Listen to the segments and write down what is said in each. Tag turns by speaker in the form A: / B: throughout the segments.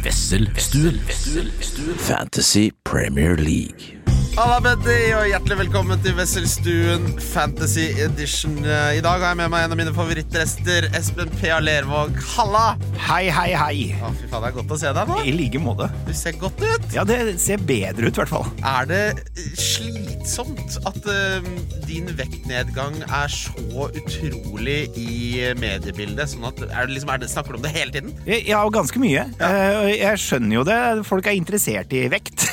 A: Vesselstuen. Fantasy Premier League.
B: Halla, Bendy, og hjertelig velkommen til Wesselstuen Fantasy Edition. Eh, I dag har jeg med meg en av mine favorittrester, Espen P.A. Lervåg. Halla!
C: Hei, hei, hei.
B: Å, fy faen, det er godt å se deg nå.
C: I like måte.
B: Du ser godt ut.
C: Ja, det ser bedre ut, i hvert fall.
B: Er det eh, slitsomt at eh, din vektnedgang er så utrolig i eh, mediebildet? Sånn at, er det liksom, er det, snakker du om det hele tiden?
C: Ja, og ganske mye. Eh, og Jeg skjønner jo det. Folk er interessert i vekt.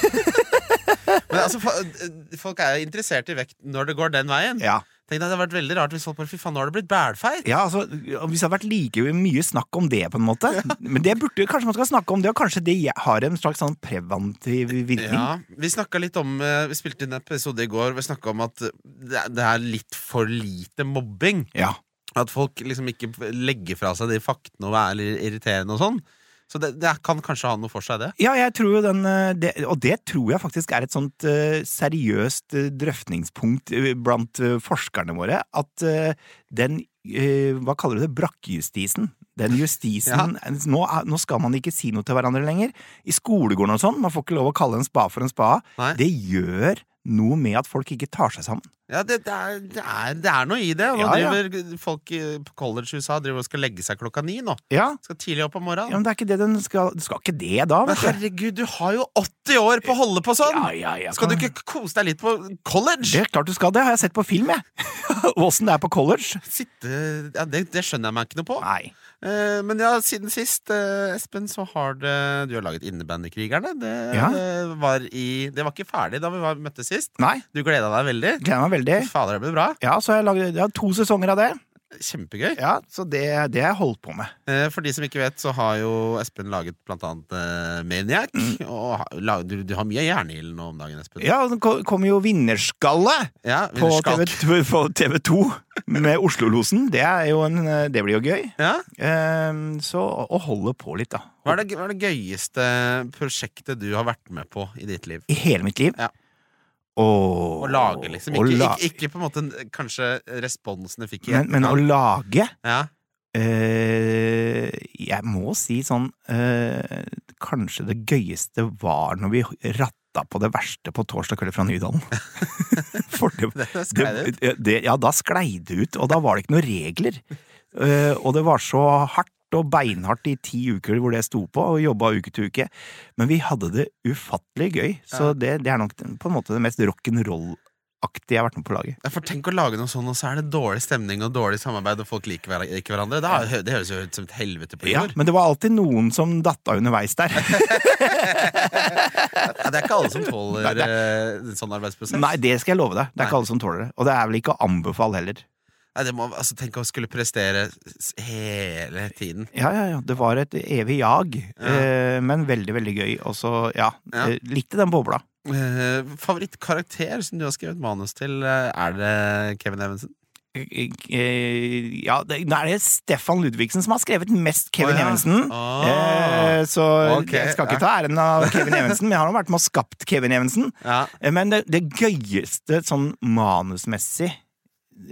B: Men altså, fa- eh, Folk er jo interessert i vekt når det går den veien.
C: Ja.
B: Tenk deg, Det hadde vært veldig rart hvis folk bare Fy faen, nå har det blitt bælfeit.
C: Ja, altså, Hvis det hadde vært like mye snakk om det, på en måte Men det burde kanskje man skal snakke om det, og kanskje det har en slags sånn preventiv virkning.
B: Ja, Vi snakket litt om eh, Vi spilte inn en episode i går. Vi snakka om at eh, det er- det er litt for lite mobbing.
C: Ja.
B: At folk liksom ikke legger fra seg de faktene og er litt irriterende og sånn. Så det, det kan kanskje ha noe for seg, det.
C: Ja, jeg tror jo den eh, det, Og det tror jeg faktisk er et sånt eh, seriøst eh, drøftingspunkt eh, blant eh, forskerne våre. At eh, den eh, Hva kaller du det? Brakkejustisen. Den justisen eh, nå, er- nå skal man ikke si noe til hverandre lenger. I skolegården og sånn, man får ikke lov å kalle en spa for en spa.
B: Nei.
C: Det gjør noe med at folk ikke tar seg sammen.
B: Ja, det, det, er, det, er, det er noe i det. Nå
C: Ja, ja.
B: driver folk i- på college i USA driver og skal legge seg klokka ni nå.
C: Ja,
B: Skal tidlig opp om
C: ja
B: morgenen.
C: men det er ikke det den skal Du skal ikke det, da.
B: Men
C: Vet du.
B: herregud, du har jo 80 år på å holde på sånn!
C: Ja, ja, jeg
B: Skal du
C: kan-
B: ikke kose deg litt på college?
C: Det er klart du skal det, har jeg sett på film, jeg. Åssen det er på college.
B: Sitte, ja, det, det skjønner jeg meg ikke noe på.
C: Nei.
B: Eh, men ja, siden sist, eh, Espen, så har det Du har laget inneband i Krigerne. Det,
C: Ja.
B: det, var i, det var ikke ferdig da vi var, møttes sist.
C: Nei.
B: Du gleda deg veldig.
C: Gleder meg veldig.
B: Fader, det ble bra.
C: Ja, så jeg lagde jeg har to sesonger av det.
B: Kjempegøy.
C: Ja, Så det, det har jeg holdt på med.
B: Eh, for de som ikke vet, så har jo Espen laget blant annet eh, Maniac. Og har- la- du, du har mye jernhild nå om dagen, Espen.
C: Mm. Ja, og Den ko- kommer jo Vinnerskalle
B: Ja,
C: på TV,
B: vinnerskalk.
C: på TV 2 med Oslo-losen. Det, er jo en, eh, det blir jo gøy.
B: Ja.
C: Ehm, så å holde på litt, da.
B: Hva er, det, hva er det gøyeste prosjektet du har vært med på i ditt liv?
C: I hele mitt liv.
B: Ja.
C: Og,
B: Å lage, liksom.
C: å
B: Ikke,
C: la-
B: ikke, ikke på en måte en- kanskje responsen du fikk i
C: men, men å
B: etterkant.
C: lage
B: ja.
C: eh, Jeg må si sånn eh, Kanskje det gøyeste var når vi ratta på det verste på torsdag kveld fra Nydalen. For det,
B: Det sklei det
C: det, det, ja, da sklei det ut, og da var det ikke noen regler. Eh, og det var så hardt og beinhardt i ti uker hvor det sto på, og jobba uke til uke. Men vi hadde det ufattelig gøy, så
B: Ja.
C: det, det er nok den- på en måte det mest rock'n'roll-aktige jeg har vært med på laget.
B: Ja, for tenk å lage noe sånn, og så er det dårlig stemning og dårlig samarbeid, og folk liker hver- ikke hverandre. Det, er, det høres jo ut som et helvete på
C: Ja,
B: jord.
C: men det var alltid noen som datt av underveis der.
B: Ja, det er ikke alle som tåler
C: Nei, det
B: eh, en sånn arbeidsprosess.
C: Nei, det skal jeg love deg. Det er
B: Nei.
C: ikke alle som tåler det. Og det er vel ikke å anbefale heller.
B: Nei, det må, altså, tenk å skulle prestere s- hele tiden.
C: Ja, ja, ja. Det var et evig jag, eh, men veldig, veldig gøy. Og så, ja,
B: Ja.
C: eh, likte den bobla.
B: Eh, favorittkarakter som du har skrevet manus til, eh, er det Kevin Evensen?
C: Eh, eh, Ja, det, nå er det Stefan Ludvigsen som har skrevet mest Kevin
B: Å, ja.
C: Evensen.
B: Ah.
C: Eh, så
B: Ok,
C: jeg skal ikke
B: ja.
C: ta æren av Kevin Evensen, men jeg har nå vært med og skapt Kevin Evensen.
B: Ja.
C: Eh, Men det, det gøyeste sånn manusmessig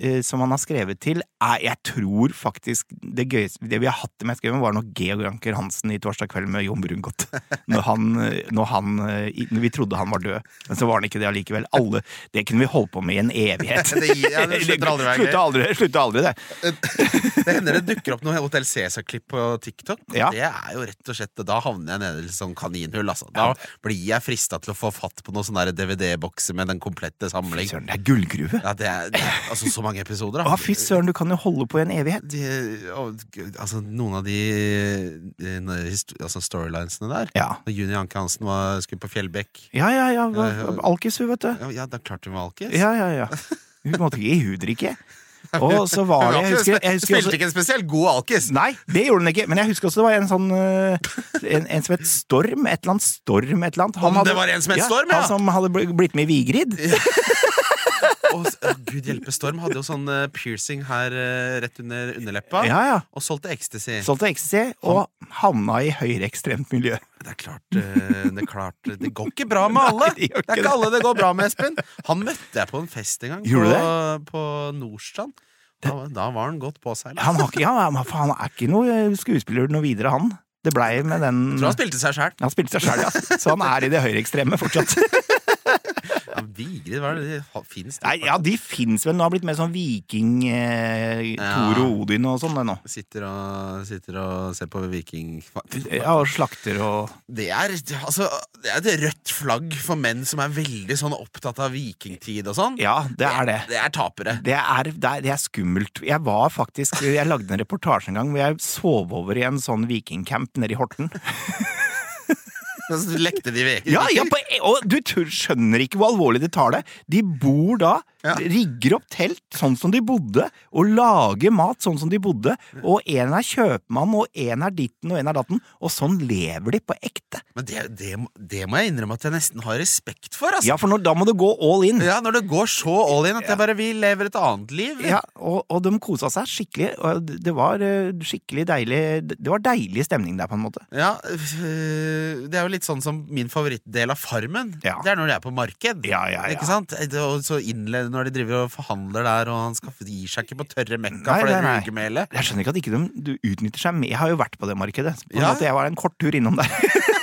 C: eh, som han har skrevet til, er jeg tror faktisk det gøyeste Det vi har hatt det med skrevet, var nok Georg Anker Hansen i Torsdag kveld med Jon Brungot. Når, han, eh, når, han, eh, i- når vi trodde han var død, men så var han ikke det allikevel. Alle, det kunne vi holdt på med i en evighet.
B: Det gir- ja, det slutter aldri å være gøy.
C: Slutter aldri, slutter aldri det.
B: Det hender det dukker opp noen Hotell Cæsar-klipp på TikTok. og
C: Ja.
B: Det er jo rett og slett Da havner jeg nede i et sånn kaninhull. Altså. Da blir jeg frista til å få fatt på noen sånne DVD-bokser med den komplette samling.
C: Søren, det er gullgruve.
B: Ja, det er, det er altså så mange episoder, da.
C: Å, fy søren, du kan jo holde på i en evighet.
B: De, å, gud, altså, noen av de, eh, hist- altså, storylinesene der
C: Ja,
B: Når Juni Anke Hansen var, skulle på Fjellbekk
C: ja, ja. ja.
B: Ja, ja.
C: Alkis, hun, vet du.
B: Ja, ja, da klarte hun å alkes.
C: Ja, ja, ja. Hun måtte ikke gi hudrikke. Og så var det
B: Hun
C: jeg husker, jeg husker
B: spilte
C: også,
B: ikke en spesielt god alkes.
C: Nei, det gjorde hun ikke. Men jeg husker også det var en sånn eh, En, en som het Storm. Et eller annet Storm. Et eller annet.
B: Om det var en som het Storm, ja.
C: Han som hadde bl- blitt med i Vigrid.
B: Og, s- å, Gud hjelpe Storm hadde jo sånn eh, piercing her eh, rett under underleppa.
C: Ja, ja.
B: Og solgte ecstasy.
C: Solgte ecstasy og havna i høyreekstremt miljø.
B: Det er klart, eh, det er klart Det går ikke bra med alle!
C: Nei, det
B: det,
C: gjør
B: er
C: ikke
B: ikke alle det går bra med, Espen. Han møtte jeg på en fest en gang,
C: Gjorde
B: på, på Nordstrand. Da, da var han godt påseilt.
C: Han, har ikke, ja, men faen, han er ikke noe skuespiller noe videre, han. Det blei med den
B: Jeg tror han spilte seg sjæl.
C: Han spilte seg sjæl, ja. Så han er i det høyreekstreme fortsatt.
B: Ja, Vigrid, hva er det de fins?
C: Nei, ja, de fins vel nå. Har blitt mer sånn viking, eh,
B: Ja.
C: Thor og Odin og sånn det nå.
B: Sitter og, sitter og ser på Viking...
C: Ja, og slakter og
B: Det er, altså, det er et rødt flagg for menn som er veldig sånn opptatt av vikingtid og sånn.
C: Ja, det er det.
B: Det er tapere.
C: Det er, det, er, det er skummelt. Jeg var faktisk Jeg lagde en reportasje en gang hvor jeg sov over i en sånn vikingcamp nede i Horten.
B: Så lekte de viking.
C: Ja, ja, på, e- og du tør- skjønner ikke hvor alvorlig de tar det. De bor da,
B: Ja.
C: rigger opp telt sånn som de bodde, og lager mat sånn som de bodde. Og en er kjøpmann, og en er ditten, og en er datten. Og sånn lever de på ekte.
B: Men det, det, det må jeg innrømme at jeg nesten har respekt for. Altså.
C: Ja, for når, da må du gå all in.
B: Ja, Når det går så all in at jeg bare Vi lever et annet liv. vi.
C: Ja, og, og de kosa seg skikkelig. Og det- det var eh, skikkelig deilig Det var deilig stemning der, på en måte.
B: Ja, øh, Det er jo litt sånn som min favorittdel av Farmen.
C: Ja.
B: Det er når de er på marked.
C: Ja, ja, ja.
B: Ikke sant? Og så innleder når de driver og forhandler der, og han skal gir seg ikke på tørre mekka
C: Nei,
B: for det
C: nei, nei.
B: rugemelet.
C: Jeg skjønner ikke at ikke de du utnytter seg mer. Jeg har jo vært på det markedet. På en
B: Ja.
C: måte, jeg var en kort tur innom der.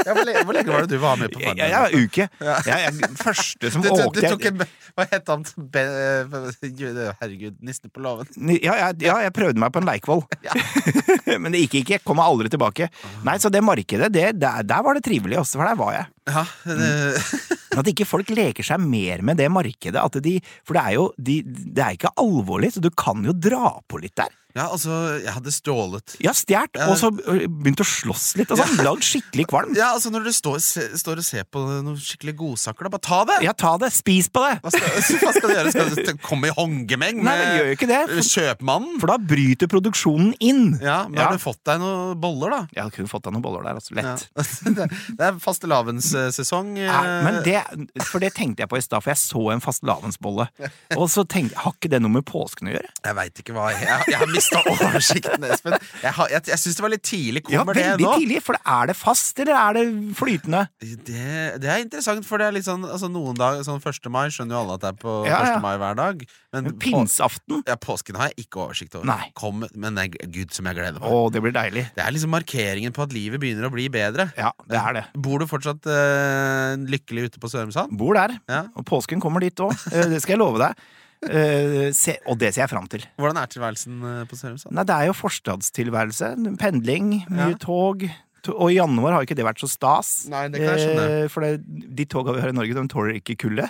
B: Ja, hvor le- hvor lenge var det du var med på
C: Jeg,
B: Farmen?
C: jeg var uke.
B: Ja.
C: Jeg, jeg, første som
B: Du, du, du
C: åkte
B: tok en Hva het han? Be, øh, herregud, nissen på låven.
C: ja, jeg, ja, jeg prøvde meg på en Leikvoll.
B: Ja.
C: Men det gikk ikke. Jeg kom aldri tilbake. Nei, Så det markedet, det, der, der var det trivelig også, for der var jeg.
B: Ja, øh, det,
C: Men At ikke folk leker seg mer med det markedet. At de, for det er jo de, det er ikke alvorlig, så du kan jo dra på litt der.
B: ja, altså, jeg hadde stjålet.
C: Ja, stjålet, og så øh, begynt å slåss litt. og sånn, Lagd skikkelig kvalm.
B: Ja, altså, når du står, se, står og ser på noen skikkelige godsaker, da, bare ta det!
C: Ja, ta det. Spis på det.
B: Hva, skal, hva skal du gjøre? Skal du t- komme i hongemeng
C: Nei, det gjør
B: med
C: jo ikke det. for-
B: kjøpmannen?
C: For da bryter produksjonen inn.
B: Ja, men
C: Ja.
B: har du fått deg noen boller, da?
C: Jeg hadde kun fått deg noen boller der, altså.
B: Ja.
C: Lett.
B: Det det er eh, fastelavnssesong.
C: Nei, Men det, for det tenkte jeg på i stad, for jeg så en fastelavnsbolle. Og så tenkte jeg, har ikke det noe med påsken å gjøre?
B: Jeg veit ikke hva Jeg, jeg har mista oversikten, Espen. Jeg, har- jeg, jeg syns det var litt tidlig.
C: Ja,
B: Kommer det
C: veldig
B: nå?
C: tidlig, for er det fast, eller er det flytende?
B: Det, det er interessant, for det er litt sånn altså noen dag, sånn 1. mai skjønner jo alle at det er på
C: Ja,
B: 1.
C: ja.
B: mai hver dag. Men på,
C: Pinseaften?
B: ja, påsken har jeg ikke oversikt over.
C: Nei.
B: Kom, men det er gud som jeg gleder meg.
C: Å, det blir deilig.
B: Det er liksom markeringen på at livet begynner å bli bedre.
C: Ja, det er det.
B: Bor du fortsatt eh, lykkelig ute på Sørumsand?
C: Bor der.
B: Ja.
C: Og påsken kommer dit òg, det skal jeg love deg. Eh, Se, og det ser jeg fram til.
B: Hvordan er tilværelsen eh, på Sørumsand?
C: Nei, det er jo forstadstilværelse. Pendling, mye
B: Ja.
C: tog. To- Og i januar har jo ikke det vært så stas.
B: Nei, det kan jeg skjønne.
C: Eh, For det, de toga vi har i Norge, de tåler ikke kulde.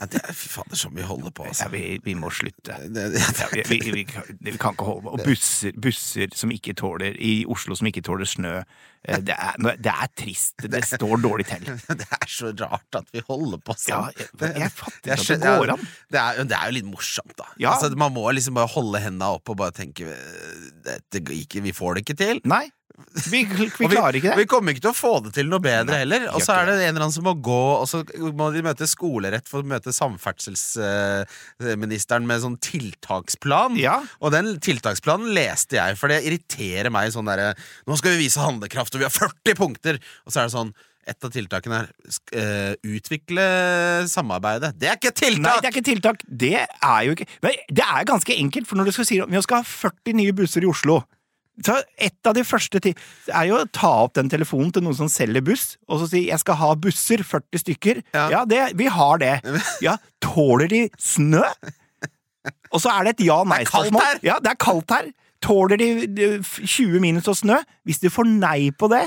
B: Ja, det er fy fader som vi holder på,
C: Ja,
B: altså.
C: vi, vi må slutte.
B: Det, det,
C: Vi, vi, vi, kan- vi kan ikke holde på. Og busser, busser som ikke tåler i Oslo som ikke tåler snø. Eh, Det er, det er trist. Det står dårlig til.
B: det er så rart at vi holder på sånn.
C: Ja, jeg, jeg
B: Jeg
C: fatter ikke at det
B: skjønner-
C: går an.
B: Det er, jo- det er jo litt morsomt, da.
C: Ja.
B: Altså, man må liksom bare holde henda opp og bare tenke eh, dette går ikke, Vi får det ikke til.
C: Nei, vi, vi
B: Og
C: klarer ikke
B: Vi
C: det.
B: kommer ikke til å få det til noe bedre heller. Og
C: gjør
B: så er det
C: ikke
B: en eller annen som må gå, og så må de møte skolerett for å møte samferdselsministeren med sånn tiltaksplan.
C: Ja.
B: Og den tiltaksplanen leste jeg, for det irriterer meg sånn derre Nå skal vi vise handlekraft, og vi har 40 punkter! Og så er det sånn et av tiltakene er sk- eh, utvikle samarbeidet. Det er ikke et tiltak!
C: Nei, det er ikke tiltak. Det er jo ikke Nei, Det er ganske enkelt, for når du skal si at vi skal ha 40 nye busser i Oslo så Et av de første ti er jo å ta opp den telefonen til noen som selger buss, og så si 'jeg skal ha busser, 40 stykker'.
B: Ja.
C: Ja, det, vi har det. Ja, Tåler de snø? Og så er det et
B: Det er kaldt her.
C: ja-nei-spørsmål. Ja, det er kaldt her. Tåler de de 20 minus og snø? Hvis de får nei på det,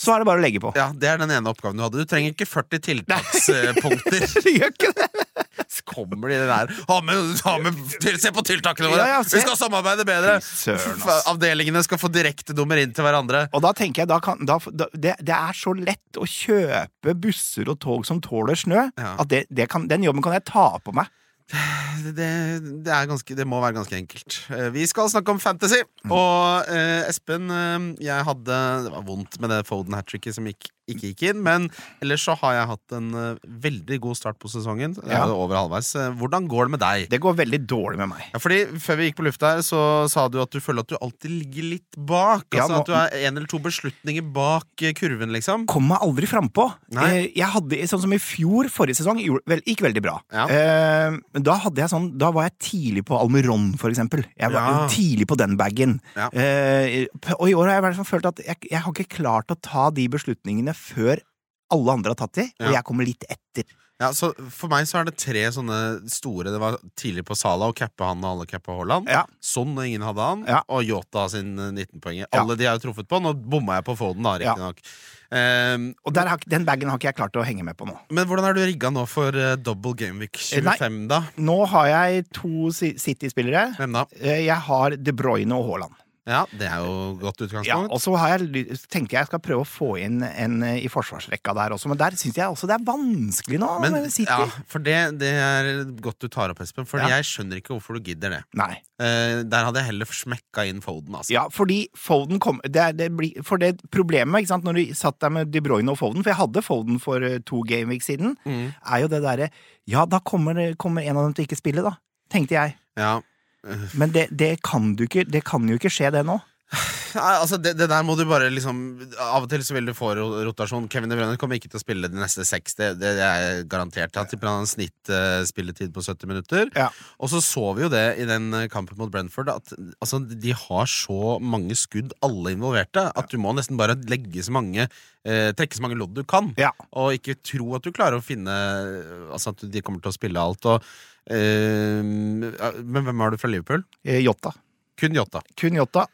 C: så er det bare å legge på.
B: Ja, Det er den ene oppgaven du hadde. Du trenger ikke 40 tiltakspunkter.
C: De gjør ikke det.
B: Så kommer de der ha med, ha med, til, Se på tiltakene våre!
C: Ja, ja, se.
B: Vi skal samarbeide bedre!
C: Fy søren, ass.
B: Fa- Avdelingene skal få direkte nummer inn til hverandre.
C: Og da tenker jeg, da kan, da, da, det, det er så lett å kjøpe busser og tog som tåler snø,
B: Ja.
C: at det, det kan, den jobben kan jeg ta på meg.
B: Det, det- det, er ganske, det må være ganske enkelt. Eh, Vi skal snakke om fantasy.
C: Mm.
B: Og eh, Espen, eh, jeg hadde Det var vondt med det Foden hat-tricket som gikk ikke gikk inn. Men ellers så har jeg hatt en eh, veldig god start på sesongen. Jeg
C: Ja.
B: er over halvveis. Eh, Hvordan går det med deg?
C: Det går veldig dårlig med meg.
B: Ja, fordi Før vi gikk på lufta, her så sa du at du føler at du alltid ligger litt bak.
C: Ja,
B: Altså
C: nå-
B: At du er en eller to beslutninger bak eh, kurven, liksom.
C: Kom meg aldri frampå.
B: Nei.
C: Eh, Jeg hadde, sånn som i fjor, forrige sesong, gjorde- vel, gikk veldig bra.
B: Ja.
C: Eh, men da, hadde jeg sånn, da var jeg tidlig på Almeron, for eksempel. Jeg var
B: Ja.
C: tidlig på den bagen.
B: Ja.
C: Eh, og i år har jeg vært sånn følt at jeg, jeg har ikke klart å ta de beslutningene før alle andre har tatt de, og
B: Ja.
C: jeg kommer litt etter.
B: Ja, så For meg så er det tre sånne store. Det var tidlig på Sala og cappa han, og alle cappa Haaland.
C: Ja.
B: Son og ingen hadde han.
C: Ja.
B: Og Yota sin eh, 19-poenger.
C: Ja.
B: Alle de har jo truffet på. Nå bomma jeg på Foden, da,
C: Ja.
B: riktignok. Ehm,
C: Og der har, ikke- den bagen har ikke jeg klart å henge med på nå.
B: men hvordan er du rigga nå for eh, double game week
C: Eh,
B: 25, da?
C: Nå har jeg to Si- City-spillere.
B: Hvem da?
C: Eh, Jeg har De Bruyne og Haaland.
B: Ja, det er jo godt utgangspunkt.
C: Ja, og så har jeg, ly- tenker jeg skal prøve å få inn en eh, i forsvarsrekka der også, men der syns jeg også det er vanskelig nå.
B: men,
C: med City.
B: ja, for det, det er godt du tar opp, Espen, for
C: Ja.
B: jeg skjønner ikke hvorfor du gidder det.
C: Nei.
B: Eh, der hadde jeg heller smekka inn Foden, altså.
C: Ja, fordi Foden kom det, er- det blir, For det problemet ikke sant, når du satt der med De Bruyne og Foden, for jeg hadde Foden for eh, to gameweeks siden,
B: Mm.
C: er jo det derre Ja, da kommer, det- kommer en av dem til ikke spille, da. Tenkte jeg.
B: Ja.
C: Men det, det kan du ikke. Det kan jo ikke skje, det nå.
B: Nei, altså det, det der må du bare liksom Av og til så vil du få ro- rotasjon. Kevin De Bruyne kommer ikke til å spille de neste seks. Det, det er garantert. Han tipper han har en snitt eh, spilletid på 70 minutter.
C: Ja.
B: Og så så vi jo det i den eh, kampen mot Brentford, at altså, de har så mange skudd, alle involverte, at du må nesten bare legge så mange eh, trekke så mange lodd du kan.
C: Ja.
B: Og ikke tro at du klarer å finne Altså at de kommer til å spille alt. Og, eh, men hvem har du fra Liverpool?
C: Eh, Jota.
B: Kun Jota.
C: Kun Jota.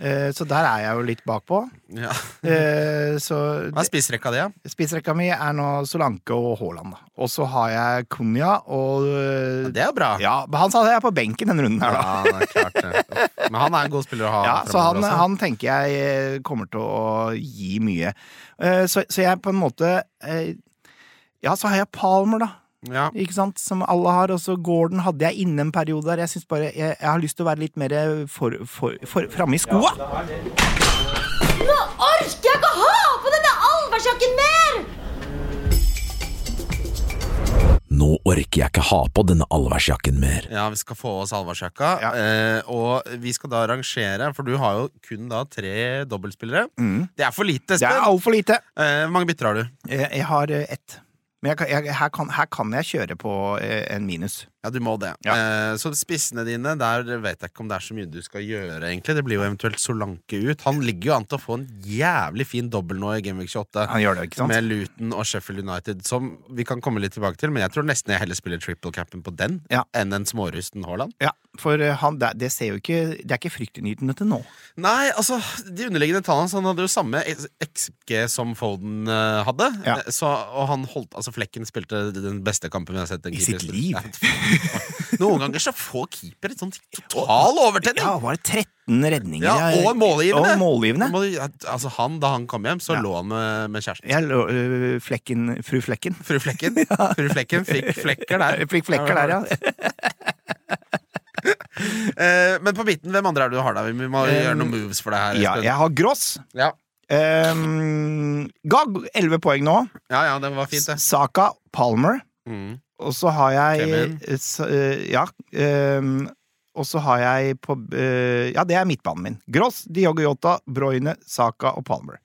C: Eh, så der er jeg jo litt bakpå.
B: Ja.
C: Eh, så
B: Hva er spissrekka di, da?
C: spissrekka mi er nå Solanke og Haaland. da. Og så har jeg Kunya og eh,
B: Ja, Det er jo bra.
C: Ja, men han sa jeg er på benken denne runden her,
B: Ja,
C: da.
B: det er klart det. Men han er altså. en god spiller å ha.
C: Ja, så
B: fremover
C: han,
B: også.
C: han tenker jeg eh, kommer til å gi mye. Eh, Så, så jeg på en måte eh, Ja, så har jeg Palmer, da.
B: ja.
C: Ikke sant? Som alle har. Og så Gordon hadde jeg inne en periode der. Jeg, synes bare, jeg, jeg har lyst til å være litt mer for, for, for, framme i skoa!
D: Nå orker jeg ikke å ha på denne allværsjakken mer!
A: Nå orker jeg ikke ha på denne allværsjakken mer.
B: ja, vi skal få oss allværsjakka.
C: Ja.
B: Eh, og vi skal da rangere, for du har jo kun da tre dobbeltspillere. Det er for lite,
C: Det
B: Espen.
C: er altfor lite.
B: Eh, Hvor mange bytter har du?
C: Jeg, jeg har eh, ett. Men jeg, kan- jeg, her, kan, her kan jeg kjøre på eh, en minus.
B: Ja, du må det. Eh, så spissene dine, der vet jeg ikke om det er så mye du skal gjøre, egentlig. Det blir jo eventuelt Solanke ut. Han ligger jo an til å få en jævlig fin dobbel nå i Gameweek 28.
C: Han gjør det, ikke sant?
B: Med Luton og Sheffield United, som vi kan komme litt tilbake til. Men jeg tror nesten jeg heller spiller triple cappen på den
C: Ja.
B: enn den smårusten Haaland.
C: Ja, for eh, han, det, det ser jo ikke Det er ikke fryktinngytende til nå.
B: Nei, altså, de underliggende tallene så Han hadde jo samme XG som Foden eh, hadde.
C: Ja.
B: Eh, Så, og han holdt Altså, Flekken spilte den beste kampen vi har sett. en
C: I
B: keeper
C: sitt
B: spille.
C: liv.
B: Ja. Noen ganger så får keeper et sånt total overtenning!
C: Ja, var det 13 redninger?
B: Ja, og målgivende.
C: Og målgivende.
B: Må du- Altså, han, da han kom hjem, så
C: Ja.
B: lå han med, med kjæresten.
C: Jeg lå, øh, flekken, fru Flekken.
B: Fru Flekken. Fru Flekken fikk flekker der.
C: Jeg fikk flekker der, ja.
B: Eh, men på midten, hvem andre er det du har der? Vi må gjøre noen moves for det her.
C: Um, ja
B: Espen.
C: jeg har Gross.
B: ja.
C: Um, ga 11 poeng nå.
B: ja, ja, det var fint, det.
C: Saka, Palmer.
B: Mm.
C: Og så har jeg
B: Kevin.
C: eh, s- eh, Ja. ehm, og så har jeg på eh, Ja, det er midtbanen min. Gross, Diogo Jota, Broyne, Saka og Palmer.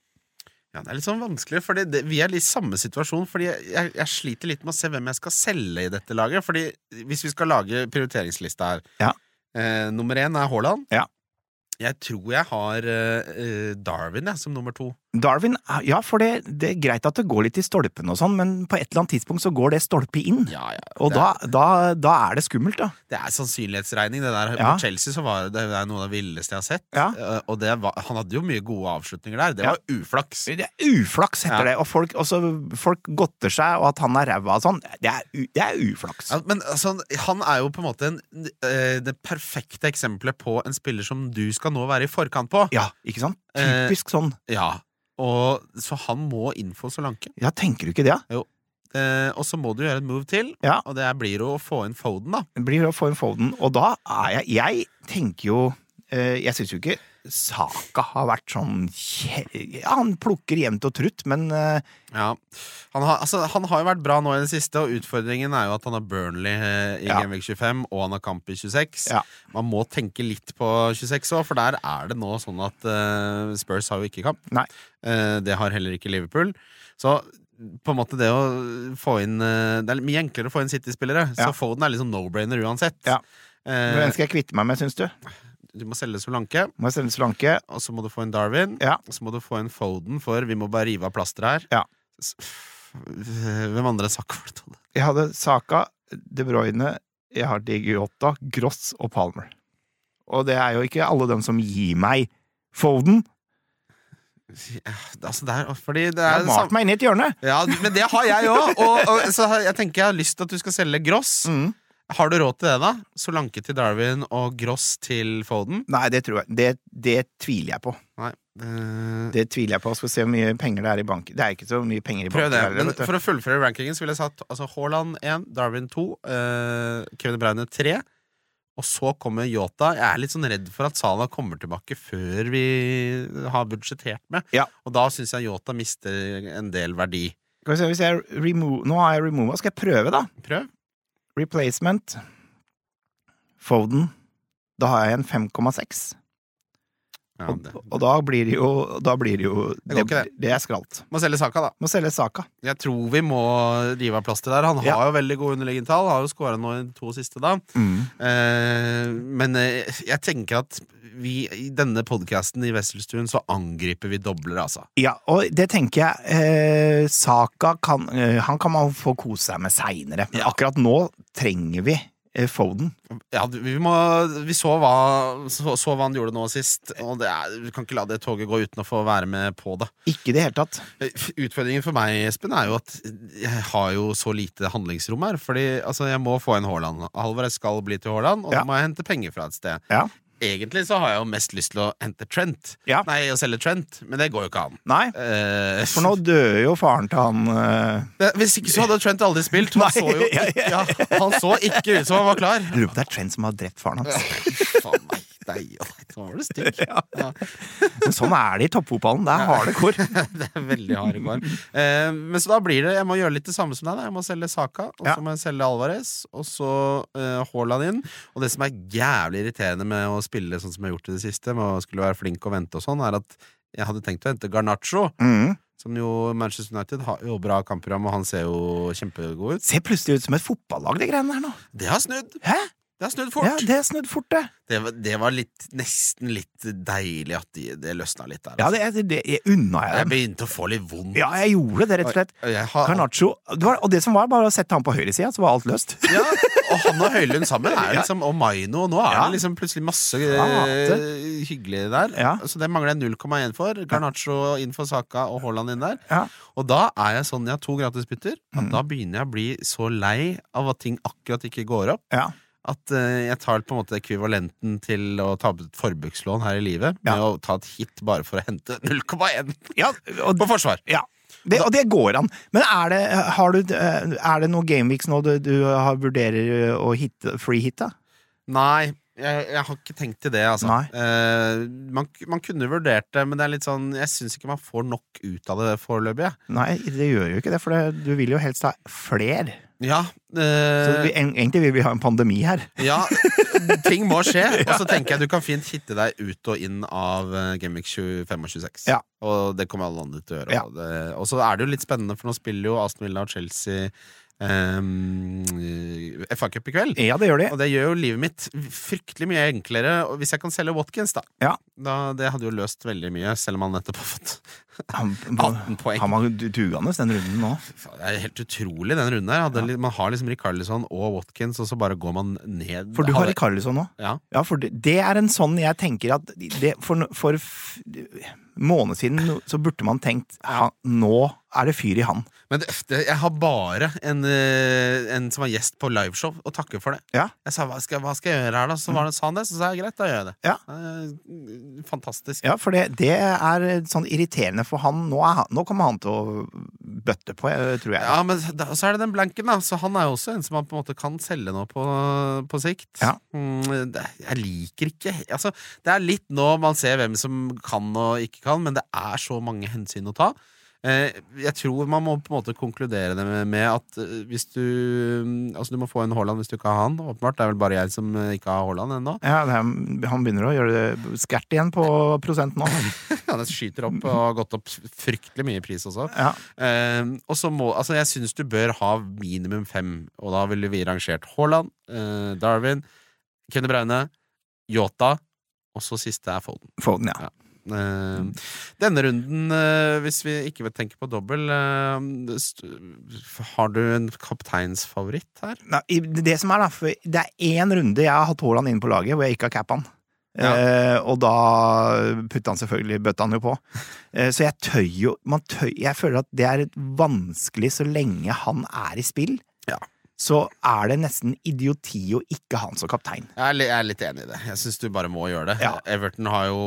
B: Ja, det er litt sånn vanskelig, for det, vi er litt i samme situasjon. Fordi jeg, jeg, jeg sliter litt med å se hvem jeg skal selge i dette laget. Fordi hvis vi skal lage prioriteringslista her
C: Ja.
B: eh, Nummer én er Haaland.
C: Ja.
B: Jeg tror jeg har eh, eh, Darwin jeg, som nummer to.
C: Darwin, eh, ja, for det, det er greit at det går litt i stolpene og sånn, men på et eller annet tidspunkt så går det stolpet inn.
B: Ja, ja,
C: Og
B: det,
C: da, da, da er det skummelt, da.
B: det er sannsynlighetsregning. Det der
C: Ja.
B: På Chelsea så var det, det er noe av det villeste jeg har sett.
C: Ja.
B: Eh, og det var, han hadde jo mye gode avslutninger der. Det
C: Ja.
B: var uflaks.
C: Det er uflaks, heter
B: Ja.
C: det. Og folk, også, folk godter seg, og at han er ræva og sånn. Det er, u, det er uflaks.
B: Ja, men altså, han er jo på en måte en, eh, det perfekte eksempelet på en spiller som du skal nå være i forkant på.
C: Ja, ikke sant?
B: Eh.
C: Typisk sånn.
B: Ja, og Så han må inn for Solanke.
C: Ja, tenker du ikke det? da?
B: Eh, og så må du gjøre en move til,
C: Ja.
B: og det blir jo å få inn Foden, da.
C: Det Blir å få en Foden. Og da er jeg Jeg tenker jo Eh, Jeg syns jo ikke Saka har vært sånn kje- Ja, han plukker jevnt og trutt, men eh,
B: Ja. Han, har, altså, han har jo vært bra nå i det siste, og utfordringen er jo at han har Burnley eh, i
C: Ja.
B: Gameweek 25, og han har kamp i 26.
C: Ja.
B: Man må tenke litt på 26 òg, for der er det nå sånn at eh, Spurs har jo ikke kamp.
C: nei.
B: Eh, det har heller ikke Liverpool. Så på en måte det å få inn eh, Det er mye enklere å få inn City-spillere,
C: Ja.
B: så Foden er liksom no-brainer uansett.
C: Ja. Hvem
B: Eh,
C: skal jeg kvitte meg med, syns du?
B: du må selge Solanke,
C: Må jeg selge Solanke?
B: og så må du få inn Darwin,
C: Ja.
B: og så må du få inn Foden, for vi må bare rive av plasteret her.
C: Ja.
B: S- Hvem andre sa hva det?
C: Jeg hadde Saka, De Bruyne, jeg har Digiota, Gross og Palmer. Og det er jo ikke alle dem som gir meg Foden.
B: Det- Altså, det er, fordi det
C: Jeg
B: er
C: har
B: det
C: malt
B: samme
C: meg inn i et hjørne.
B: ja, Men det har jeg òg! Og, og, så har- jeg tenker jeg har lyst til at du skal selge Gross.
C: Mm.
B: Har du råd til det, da? Solanke til Darwin og Gross til Foden?
C: Nei, det tror jeg. Det, det tviler jeg på.
B: Nei. eh,
C: Det tviler jeg på. Skal se hvor mye penger det er i banken. Det er ikke så mye penger i
B: Prøv
C: banken.
B: det.
C: heller,
B: Men
C: vet du.
B: for å fullføre rankingen så ville jeg satt altså, Haaland 1, Darwin 2, eh, Kevin De Bruyne 3. Og så kommer Yota. Jeg er litt sånn redd for at Salah kommer tilbake før vi har budsjettert med.
C: Ja.
B: Og da syns jeg Yota mister en del verdi.
C: Skal vi se, hvis jeg remo- Nå har jeg remova. Skal jeg prøve, da?
B: Prøv.
C: Replacement. Foden. Da har jeg en 5,6.
B: Ja,
C: Og,
B: det.
C: og da blir det jo Da blir det jo
B: Det går ikke,
C: det er skralt.
B: Må selge saka, da.
C: Må selge saka.
B: Jeg tror vi må rive av plaster der. Han har
C: Ja.
B: jo veldig gode underliggende tall. Har jo skåra nå i de to siste, da. Eh, men eh, jeg tenker at vi i denne podkasten i Wesselstuen så angriper vi dobler, altså.
C: Ja, og det tenker jeg eh, Saka kan eh, Han kan man få kose seg med seinere, men akkurat nå trenger vi eh, Foden.
B: Ja, du- vi, må, vi så, hva, så, så hva han gjorde nå sist, og det er, vi kan ikke la det toget gå uten å få være med på det. Eh,
C: Ikke i det hele tatt.
B: Utfordringen for meg, Espen, er jo at jeg har jo så lite handlingsrom her. Fordi altså, jeg må få en Haaland. Halvor skal bli til Haaland, og
C: Ja.
B: da må jeg hente penger fra et sted.
C: Ja.
B: Egentlig så har jeg jo mest lyst til å hente Trent.
C: Ja.
B: Nei, å selge Trent, men det går jo ikke an.
C: Nei,
B: Eh,
C: for nå dør jo faren til han eh,
B: det- Hvis ikke så hadde Trent aldri spilt. Han,
C: Nei.
B: så, jo, ikke- ja, han så ikke ut som han var klar.
C: Jeg lurer på om det er Trent som har drept faren hans.
B: Faen, nei, nei, nei, nå var du stygg. Ja.
C: Men sånn er det i toppfotballen. Det er harde kår.
B: Det er veldig harde kår. Eh, men så da blir det Jeg må gjøre litt det samme som deg. da. Jeg må selge Saka, og
C: Ja.
B: så må jeg selge Alvarez, og så eh, Haaland inn. Og det som er jævlig irriterende med å spille sånn som jeg har gjort i det siste, med å skulle være flink og vente og sånn, er at jeg hadde tenkt å hente Garnaccio,
C: Mm.
B: som jo Manchester United har jo bra kampprogram, og han ser jo kjempegod ut.
C: Ser plutselig ut som et fotballag, de greiene her nå.
B: Det har snudd!
C: Hæ?
B: Det har snudd
C: Ja,
B: fort!
C: det er snudd fort, det.
B: Det, var- det var litt, nesten litt deilig at de, det løsna litt der.
C: Ja,
B: altså.
C: det, det, det unna jeg
B: Jeg
C: dem.
B: begynte å få litt vondt.
C: Ja, jeg gjorde det, rett og slett.
B: Jeg har
C: Carnaccio det var, Og det som var, bare å sette han på høyresida, så var alt løst.
B: Ja, og han og Høylund sammen er jo liksom, og Maino, og nå er
C: Ja.
B: det liksom plutselig masse
C: Flate.
B: eh, hyggelig der.
C: Ja.
B: Så det mangler jeg 0,1 for. Garnaccio inn for Saka og Haaland inn der.
C: Ja.
B: Og da er jeg sånn, jeg har to gratisbytter, at da begynner jeg å bli så lei av at ting akkurat ikke går opp.
C: Ja.
B: At eh, jeg tar på en måte ekvivalenten til å ta opp et forbrukslån her i livet med
C: Ja.
B: å ta et hit bare for å hente 0,1
C: Ja, og,
B: på forsvar.
C: ja. Det, og det går an. Men er det, har du, eh, er det noen gameweeks nå du, du har, vurderer eh, å hitte, freehitte?
B: Nei, jeg, jeg har ikke tenkt til det, altså.
C: Nei.
B: Eh, man, man kunne vurdert det, men det er litt sånn jeg syns ikke man får nok ut av det foreløpig. jeg.
C: Nei, det gjør jo ikke det, for det, du vil jo helst ha fler.
B: Ja,
C: Så
B: eh,
C: vi, en- egentlig vil vi ha en pandemi her.
B: ja, ting må skje. Og så tenker jeg du kan fint hitte deg ut og inn av eh, Gameweek 25 og 26.
C: Ja.
B: Og det kommer alle andre til å gjøre.
C: Ja.
B: Og, det, og så er det jo litt spennende, for nå spiller jo Aston Villa og Chelsea eh, FA-cup i kveld.
C: Ja, det gjør de.
B: Og det gjør jo livet mitt fryktelig mye enklere og hvis jeg kan selge Watkins, da.
C: Ja.
B: da det hadde jo løst veldig mye, selv om han nettopp har fått
C: Han,
B: 18 poeng.
C: han var dugende den runden nå.
B: Det er helt utrolig, den runden her. Hadde, Man har liksom Rikarlison og Watkins, og så bare går man ned.
C: For du har
B: Hadde-
C: Rikarlison nå?
B: Ja.
C: Ja, for det, det er en sånn jeg tenker at det, For, for f, måned siden no- så burde man tenkt ha, Nå er det fyr i han.
B: Men det, det, jeg har bare en, eh, en som var gjest på liveshow, å takke for det.
C: Ja.
B: Jeg sa hva skal, hva skal jeg gjøre her, da? Så var det, sa han det, så sa jeg greit, da gjør jeg det.
C: Ja.
B: Eh, Fantastisk.
C: Ja, for det, det er sånn irriterende for han. Nå, er han. Nå kommer han til å bøtte på, eh, tror jeg.
B: Ja, men da, så er det den blanken, da. Så han er jo også en som man på en måte kan selge nå på, på sikt.
C: Ja.
B: Mm, det, jeg liker ikke altså, Det er litt nå man ser hvem som kan og ikke kan, men det er så mange hensyn å ta. Eh, jeg tror man må på en måte konkludere det med, med at eh, hvis du Altså, du må få en Haaland hvis du ikke har han, åpenbart. Det er vel bare jeg som eh, ikke har Haaland ennå.
C: Ja, det er, han begynner å gjøre det skært igjen på prosenten nå.
B: Han skyter opp og har gått opp fryktelig mye i pris også.
C: Ja.
B: Eh, og så må, altså Jeg syns du bør ha minimum fem, og da ville vi rangert Haaland, eh, Darwin, Kevin De Bruyne, Yota, og så siste er Foden.
C: Foden, ja.
B: Eh, denne runden, eh, hvis vi ikke vil tenke på dobbel, eh, st- har du en kapteinsfavoritt her?
C: Nei, i- det som er da, for det er én runde jeg har hatt Haaland inne på laget hvor jeg ikke har cappa han.
B: Ja.
C: Eh, og da putta han selvfølgelig bøtta han jo på. Eh, så jeg tøyer jo man tøy, Jeg føler at det er vanskelig så lenge han er i spill.
B: Ja.
C: Så er det nesten idioti å ikke ha han som kaptein.
B: Jeg er, li- jeg er litt enig i det. Jeg syns du bare må gjøre det.
C: Ja.
B: Everton har jo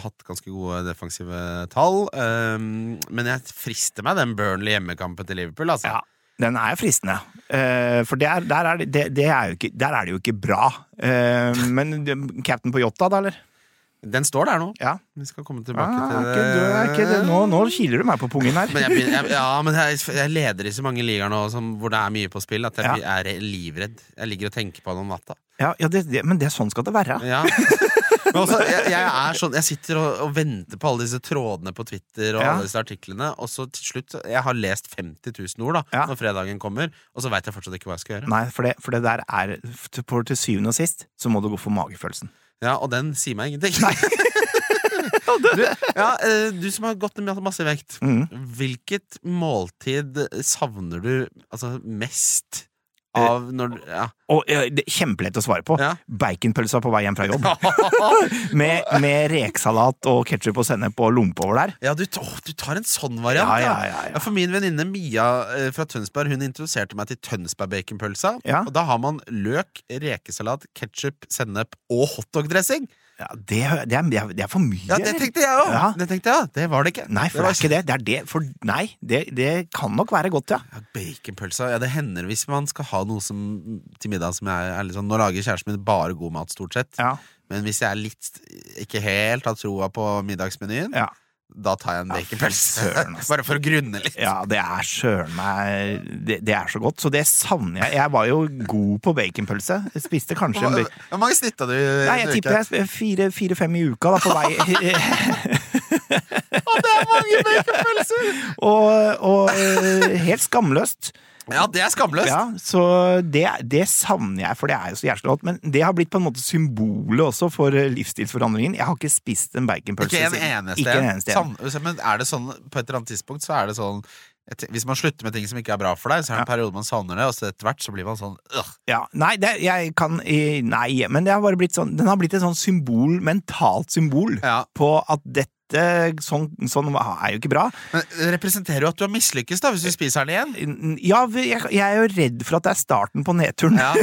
B: hatt ganske gode defensive tall. ehm, men jeg frister meg den Burnley-hjemmekampen til Liverpool. Altså.
C: Ja, den er fristende. Eh, for det er, der, er det, det, det er jo ikke, der er det jo ikke bra. Eh, men det- cap'n på Jota, da, eller?
B: Den står der nå.
C: Ja.
B: Vi skal komme tilbake
C: Ah,
B: til
C: er ikke, du, er ikke, det- nå, nå kiler du meg på pungen her.
B: Men jeg, begynner- jeg, ja, men jeg, jeg leder i så mange ligaer nå som, hvor det er mye på spill, at jeg er livredd. Jeg ligger og tenker på det om natta.
C: Ja, ja det, det, men det, sånn skal det være.
B: Ja. Men også, jeg, jeg, er sånn, jeg sitter og, og venter på alle disse trådene på Twitter og
C: Ja.
B: alle disse artiklene, og så til slutt Jeg har lest 50 000 ord da,
C: Ja.
B: når fredagen kommer, og så veit jeg fortsatt ikke hva jeg skal gjøre.
C: Nei, for det, for det der er for Til syvende og sist så må du gå for magefølelsen.
B: Ja, Og den sier meg ingenting. Du, ja, eh, du som har gått ned masse vekt,
C: Mhm.
B: hvilket måltid savner du altså, mest
C: Eh.
B: av når du- ja.
C: Og eh, det er kjempelett å svare på.
B: Ja.
C: Baconpølsa på vei hjem fra jobb. Med, med rekesalat og ketsjup og sennep og lompe over der.
B: Ja, du, t- åh, du tar en sånn variant,
C: Ja, ja, ja, ja.
B: For min venninne Mia eh, fra Tønsberg Hun introduserte meg til Tønsberg-baconpølsa.
C: Ja.
B: Og da har man løk, rekesalat, ketsjup, sennep og hotdogdressing!
C: Ja, det, det, er, det er for mye.
B: Ja, det tenkte jeg òg!
C: Ja.
B: Det tenkte jeg også. Det var det ikke.
C: Nei, for det
B: var
C: er ikke det. Det er det. For nei, det, det kan nok være godt, ja.
B: Ja, Baconpølsa ja, det hender hvis man skal ha noe som, til middag som jeg er litt sånn Nå lager kjæresten min bare god mat, stort sett.
C: Ja,
B: Men hvis jeg er litt ikke helt har troa på middagsmenyen,
C: ja.
B: da tar jeg en
C: Ja, fy
B: baconpølse.
C: søren, altså.
B: Bare for å grunne litt.
C: ja det er søren meg det, det er så godt, så det savner jeg. Jeg var jo god på baconpølse. Jeg Spiste kanskje en
B: Hvor
C: bacon...
B: hvor mange snitta du?
C: Nei, jeg
B: du ikke?
C: tipper jeg sp- fire- fire-fem i uka, da, på vei
B: Og det er mange baconpølser!
C: Og, og eh, helt skamløst.
B: Ja, det er skamløst.
C: Ja, så det, det savner jeg, for det er jo så jævlig godt. Men det har blitt på en måte symbolet også for eh, livsstilsforandringen. Jeg har ikke spist en baconpølse
B: Ikke en
C: siden.
B: eneste
C: Ikke en
B: en.
C: eneste en.
B: Sam- Men er det sånn, på et eller annet tidspunkt så er det sånn et, Hvis man slutter med ting som ikke er bra for deg, så er det en periode man savner det, og så etter hvert så blir man sånn øh.
C: Ja, nei, det, jeg kan eh, Nei, men det har bare blitt sånn, den har blitt et sånn symbol, mentalt symbol,
B: Ja.
C: på at dette sånn, sånn er jo ikke bra.
B: Men det representerer jo at du har mislykkes, da, hvis du spiser den igjen.
C: Ja, jeg, jeg er jo redd for at det er starten på nedturen.
B: Ja.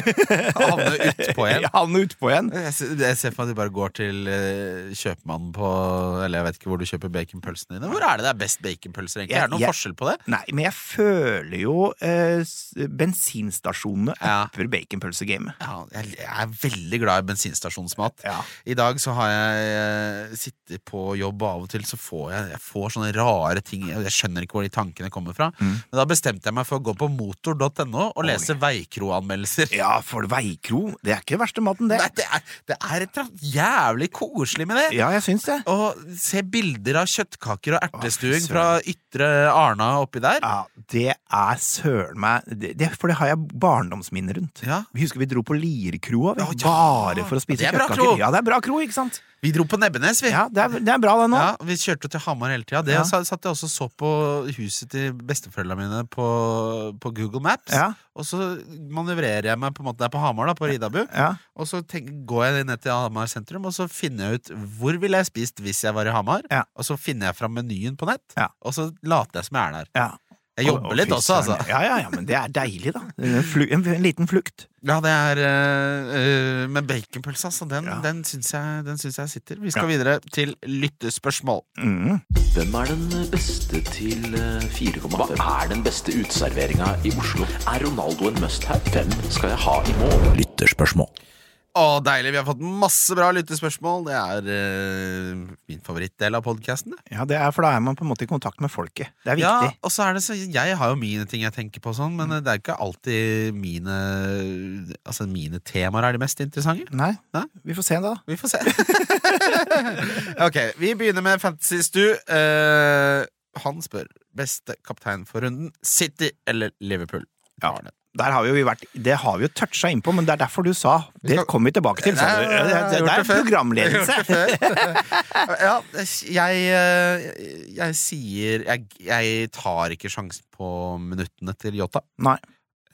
B: Havne utpå igjen.
C: Jeg havner utpå igjen.
B: Jeg ser, jeg ser for meg at du bare går til eh, kjøpmannen på Eller jeg vet ikke hvor du kjøper baconpølsene dine. Hvor er det det er best baconpølser, egentlig?
C: Jeg-
B: er det noen
C: jeg-
B: forskjell på det?
C: Nei, men jeg føler jo eh, s- bensinstasjonene
B: Ja.
C: upper baconpølsegamet.
B: Ja, jeg jeg er veldig glad i bensinstasjonsmat.
C: Ja.
B: I dag så har jeg eh, sittet på jobb, og av og til så får jeg, jeg får sånne rare ting og Jeg skjønner ikke hvor de tankene kommer fra. Men da bestemte jeg meg for å gå på motor.no og lese veikroanmeldelser.
C: Ja, for veikro, det er ikke det verste maten, det.
B: Nei, det er, det er et eller annet jævlig koselig med det!
C: Ja, jeg syns det.
B: Og se bilder av kjøttkaker og ertestuing
C: Å, fy søren.
B: fra ytre Arna oppi der.
C: Ja, det er søren meg det, det, For det har jeg barndomsminner rundt.
B: Ja.
C: Vi husker vi dro på Lierkroa, vi.
B: Ja, ja.
C: Bare for å spise
B: Det er bra
C: kjøttkaker.
B: kro.
C: Ja, det er bra kro, ikke sant?
B: Vi dro på Nebbenes, vi.
C: Ja, det er, det er bra, det nå.
B: Ja, vi kjørte jo til Hamar hele tida. Det
C: Ja.
B: sa- satt jeg også og så på huset til besteforeldrene mine på, på Google Maps.
C: Ja.
B: Og så manøvrerer jeg meg på en måte der på Hamar, da, på Ridabu.
C: Ja.
B: Og så tenk, går jeg ned til Hamar sentrum og så finner jeg ut hvor ville jeg spist hvis jeg var i Hamar.
C: Ja.
B: Og så finner jeg fram menyen på nett,
C: Ja.
B: og så later jeg som jeg er der.
C: ja.
B: Jeg jobber litt også, altså.
C: Ja, ja, ja, men det er deilig, da. En, flu, en, en liten flukt.
B: Ja, det er eh, eh, Men baconpølse, altså, den,
C: Ja.
B: den, syns jeg, den syns jeg sitter. Vi skal videre til lyttespørsmål.
C: Mm.
E: Hvem er den beste til eh, 4,5? Hva er den beste uteserveringa i Oslo? Er Ronaldo en must-have? Hvem skal jeg ha i mål?
A: Lytterspørsmål.
B: Å, deilig! Vi har fått masse bra lyttespørsmål. Det er eh, min favorittdel av podkasten.
C: Ja, det er, for da er man på en måte i kontakt med folket. Det er
B: Ja,
C: viktig. Mm.
B: og så er det så Jeg har jo mine ting jeg tenker på, og sånn, men eh, det er ikke alltid mine Altså mine temaer er de mest interessante.
C: Nei,
B: Nei?
C: vi får se da.
B: Vi får se. ok, vi begynner med Fantasy Stu. Eh, han spør beste kaptein for runden. City eller Liverpool?
C: Ja.
B: Arne.
C: Der har vi jo vært, det har vi jo toucha innpå, men det er derfor du sa Det
B: skal-
C: kommer vi tilbake til. sa
B: Nei,
C: du.
B: jeg har
C: det, det, det
B: gjort
C: er
B: det før.
C: programledelse.
B: Jeg har gjort det før. ja, jeg, eh, jeg sier jeg, jeg tar ikke sjansen på minuttene til Jota.
C: Nei.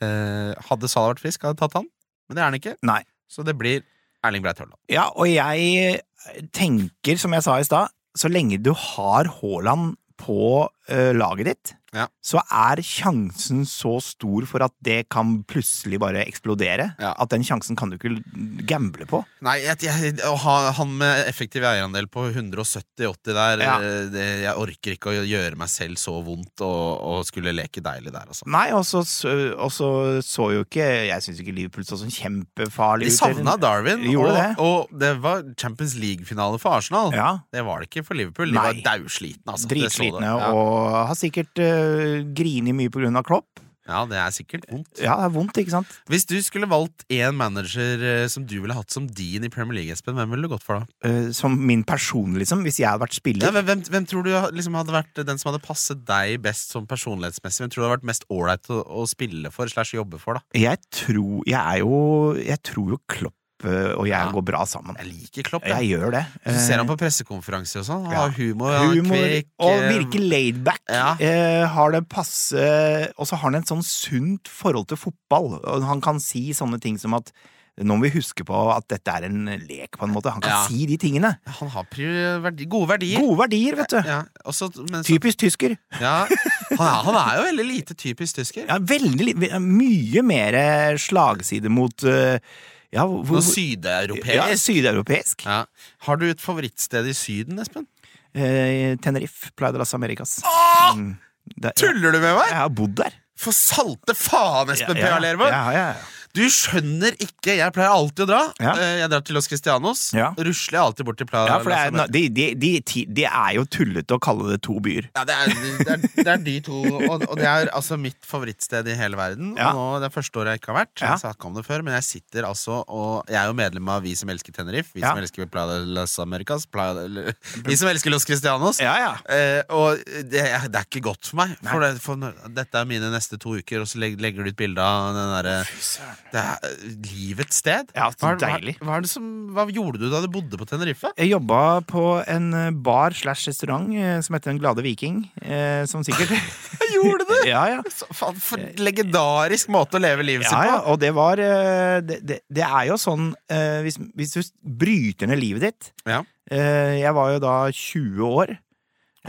B: Eh, hadde Salah vært frisk, hadde jeg tatt han, men det er han ikke.
C: Nei.
B: Så det blir Erling Breit Haaland.
C: Ja, og jeg eh, tenker, som jeg sa i stad, så lenge du har Haaland på eh, laget ditt,
B: Ja.
C: så er sjansen så stor for at det kan plutselig bare eksplodere.
B: Ja.
C: At den sjansen kan du ikke gamble på.
B: Nei, jeg, jeg, å ha han med effektiv eierandel på 170-80 der
C: Ja.
B: eh, det, Jeg orker ikke å gjøre meg selv så vondt og, og skulle leke deilig der, altså.
C: Nei, og så så- og så så jo ikke Jeg syns ikke Liverpool så sånn kjempefarlig
B: De
C: ut.
B: savna Darwin,
C: De
B: og
C: gjorde det.
B: og det var Champions League-finale for Arsenal.
C: Ja.
B: Det var det ikke for Liverpool. De
C: Nei.
B: var daudslitne. Altså. Det så du.
C: Dritslitne
B: ja.
C: og har sikkert uh, grini mye på grunn av Klopp.
B: ja, det er sikkert vondt.
C: Ja, det er vondt, ikke sant?
B: Hvis du skulle valgt én manager eh, som du ville hatt som din i Premier League, Espen, hvem ville du gått for da?
C: Eh, som min person, liksom. Hvis jeg hadde vært
B: Ja,
C: spiller.
B: hvem, hvem- hvem tror du liksom hadde vært den som hadde passet deg best som personlighetsmessig? Hvem tror du hadde vært mest ålreit å, å spille for slash jobbe for, da?
C: Jeg tror Jeg er jo Jeg tror jo Klopp eh, og jeg
B: Ja.
C: går bra sammen.
B: Jeg liker Klopp.
C: Jeg
B: Jeg.
C: gjør det.
B: Så ser han på pressekonferanser og sånn. Han
C: ja.
B: har humor, han er
C: Humor
B: kvikk,
C: og
B: eh,
C: virker laidback.
B: Ja.
C: Eh, har det passe Og så har han et sånn sunt forhold til fotball. Og han kan si sånne ting som at nå må vi huske på at dette er en lek, på en måte. Han kan
B: Ja.
C: si de tingene.
B: eh, Han har prior- verdi, gode verdier.
C: Gode verdier, vet du.
B: Ja, og så- men så-
C: Typisk tysker.
B: ja, han, er, han er jo veldig lite typisk tysker.
C: Ja, veldig li- Mye mer eh, slagside mot eh, Ja, hvor
B: Noe sydeuropeisk.
C: ja, Sydeuropeisk.
B: Ja. Har du et favorittsted i Syden, Espen?
C: Eh, Tenerife, Playa de las Americas. Mm. Det-
B: Tuller du med
C: Jeg
B: meg?!
C: har bodd der.
B: For salte faen, Espen P.A. Lervold!
C: ja, ja, ja.
B: Du skjønner ikke, jeg pleier alltid å dra.
C: Ja.
B: Eh, Jeg drar til Los Cristianos.
C: Ja.
B: Rusler jeg alltid bort til Playa
C: Ja, for det
B: Las
C: er,
B: Américas.
C: de, de, de, ti- de er jo tullete å kalle det to byer.
B: Ja, det er, det, er, det er de to, og, og det er altså mitt favorittsted i hele verden.
C: Ja.
B: Og nå, Det er første året jeg ikke har vært. Jeg
C: Ja.
B: har snakket om det før, men jeg sitter altså og Jeg er jo medlem av Vi som elsker Tenerife, Vi
C: Ja.
B: som elsker Playa de Las Americas, Playa de, eller- Vi som elsker Los Cristianos.
C: Ja, ja.
B: Eh, og det, er- det er ikke godt for meg. For, det, for når- dette er mine neste to uker, og så legger, legger du ut bilde av den derre Det er eh, livets sted.
C: Ja, så
B: hva, er-
C: deilig.
B: Hva, hva, er det som, hva gjorde du da du bodde på Tenerife?
C: Jeg jobba på en eh, bar slash restaurant eh, som heter Den glade viking, eh, som sikkert
B: Gjorde du?
C: Ja, ja.
B: Så, faen, for en Eh, legendarisk måte å leve livet sitt
C: Ja, ja,
B: på.
C: og det var eh, Det, det, det er jo sånn eh, hvis, hvis du bryter ned livet ditt
B: Ja.
C: eh, Jeg var jo da 20 år.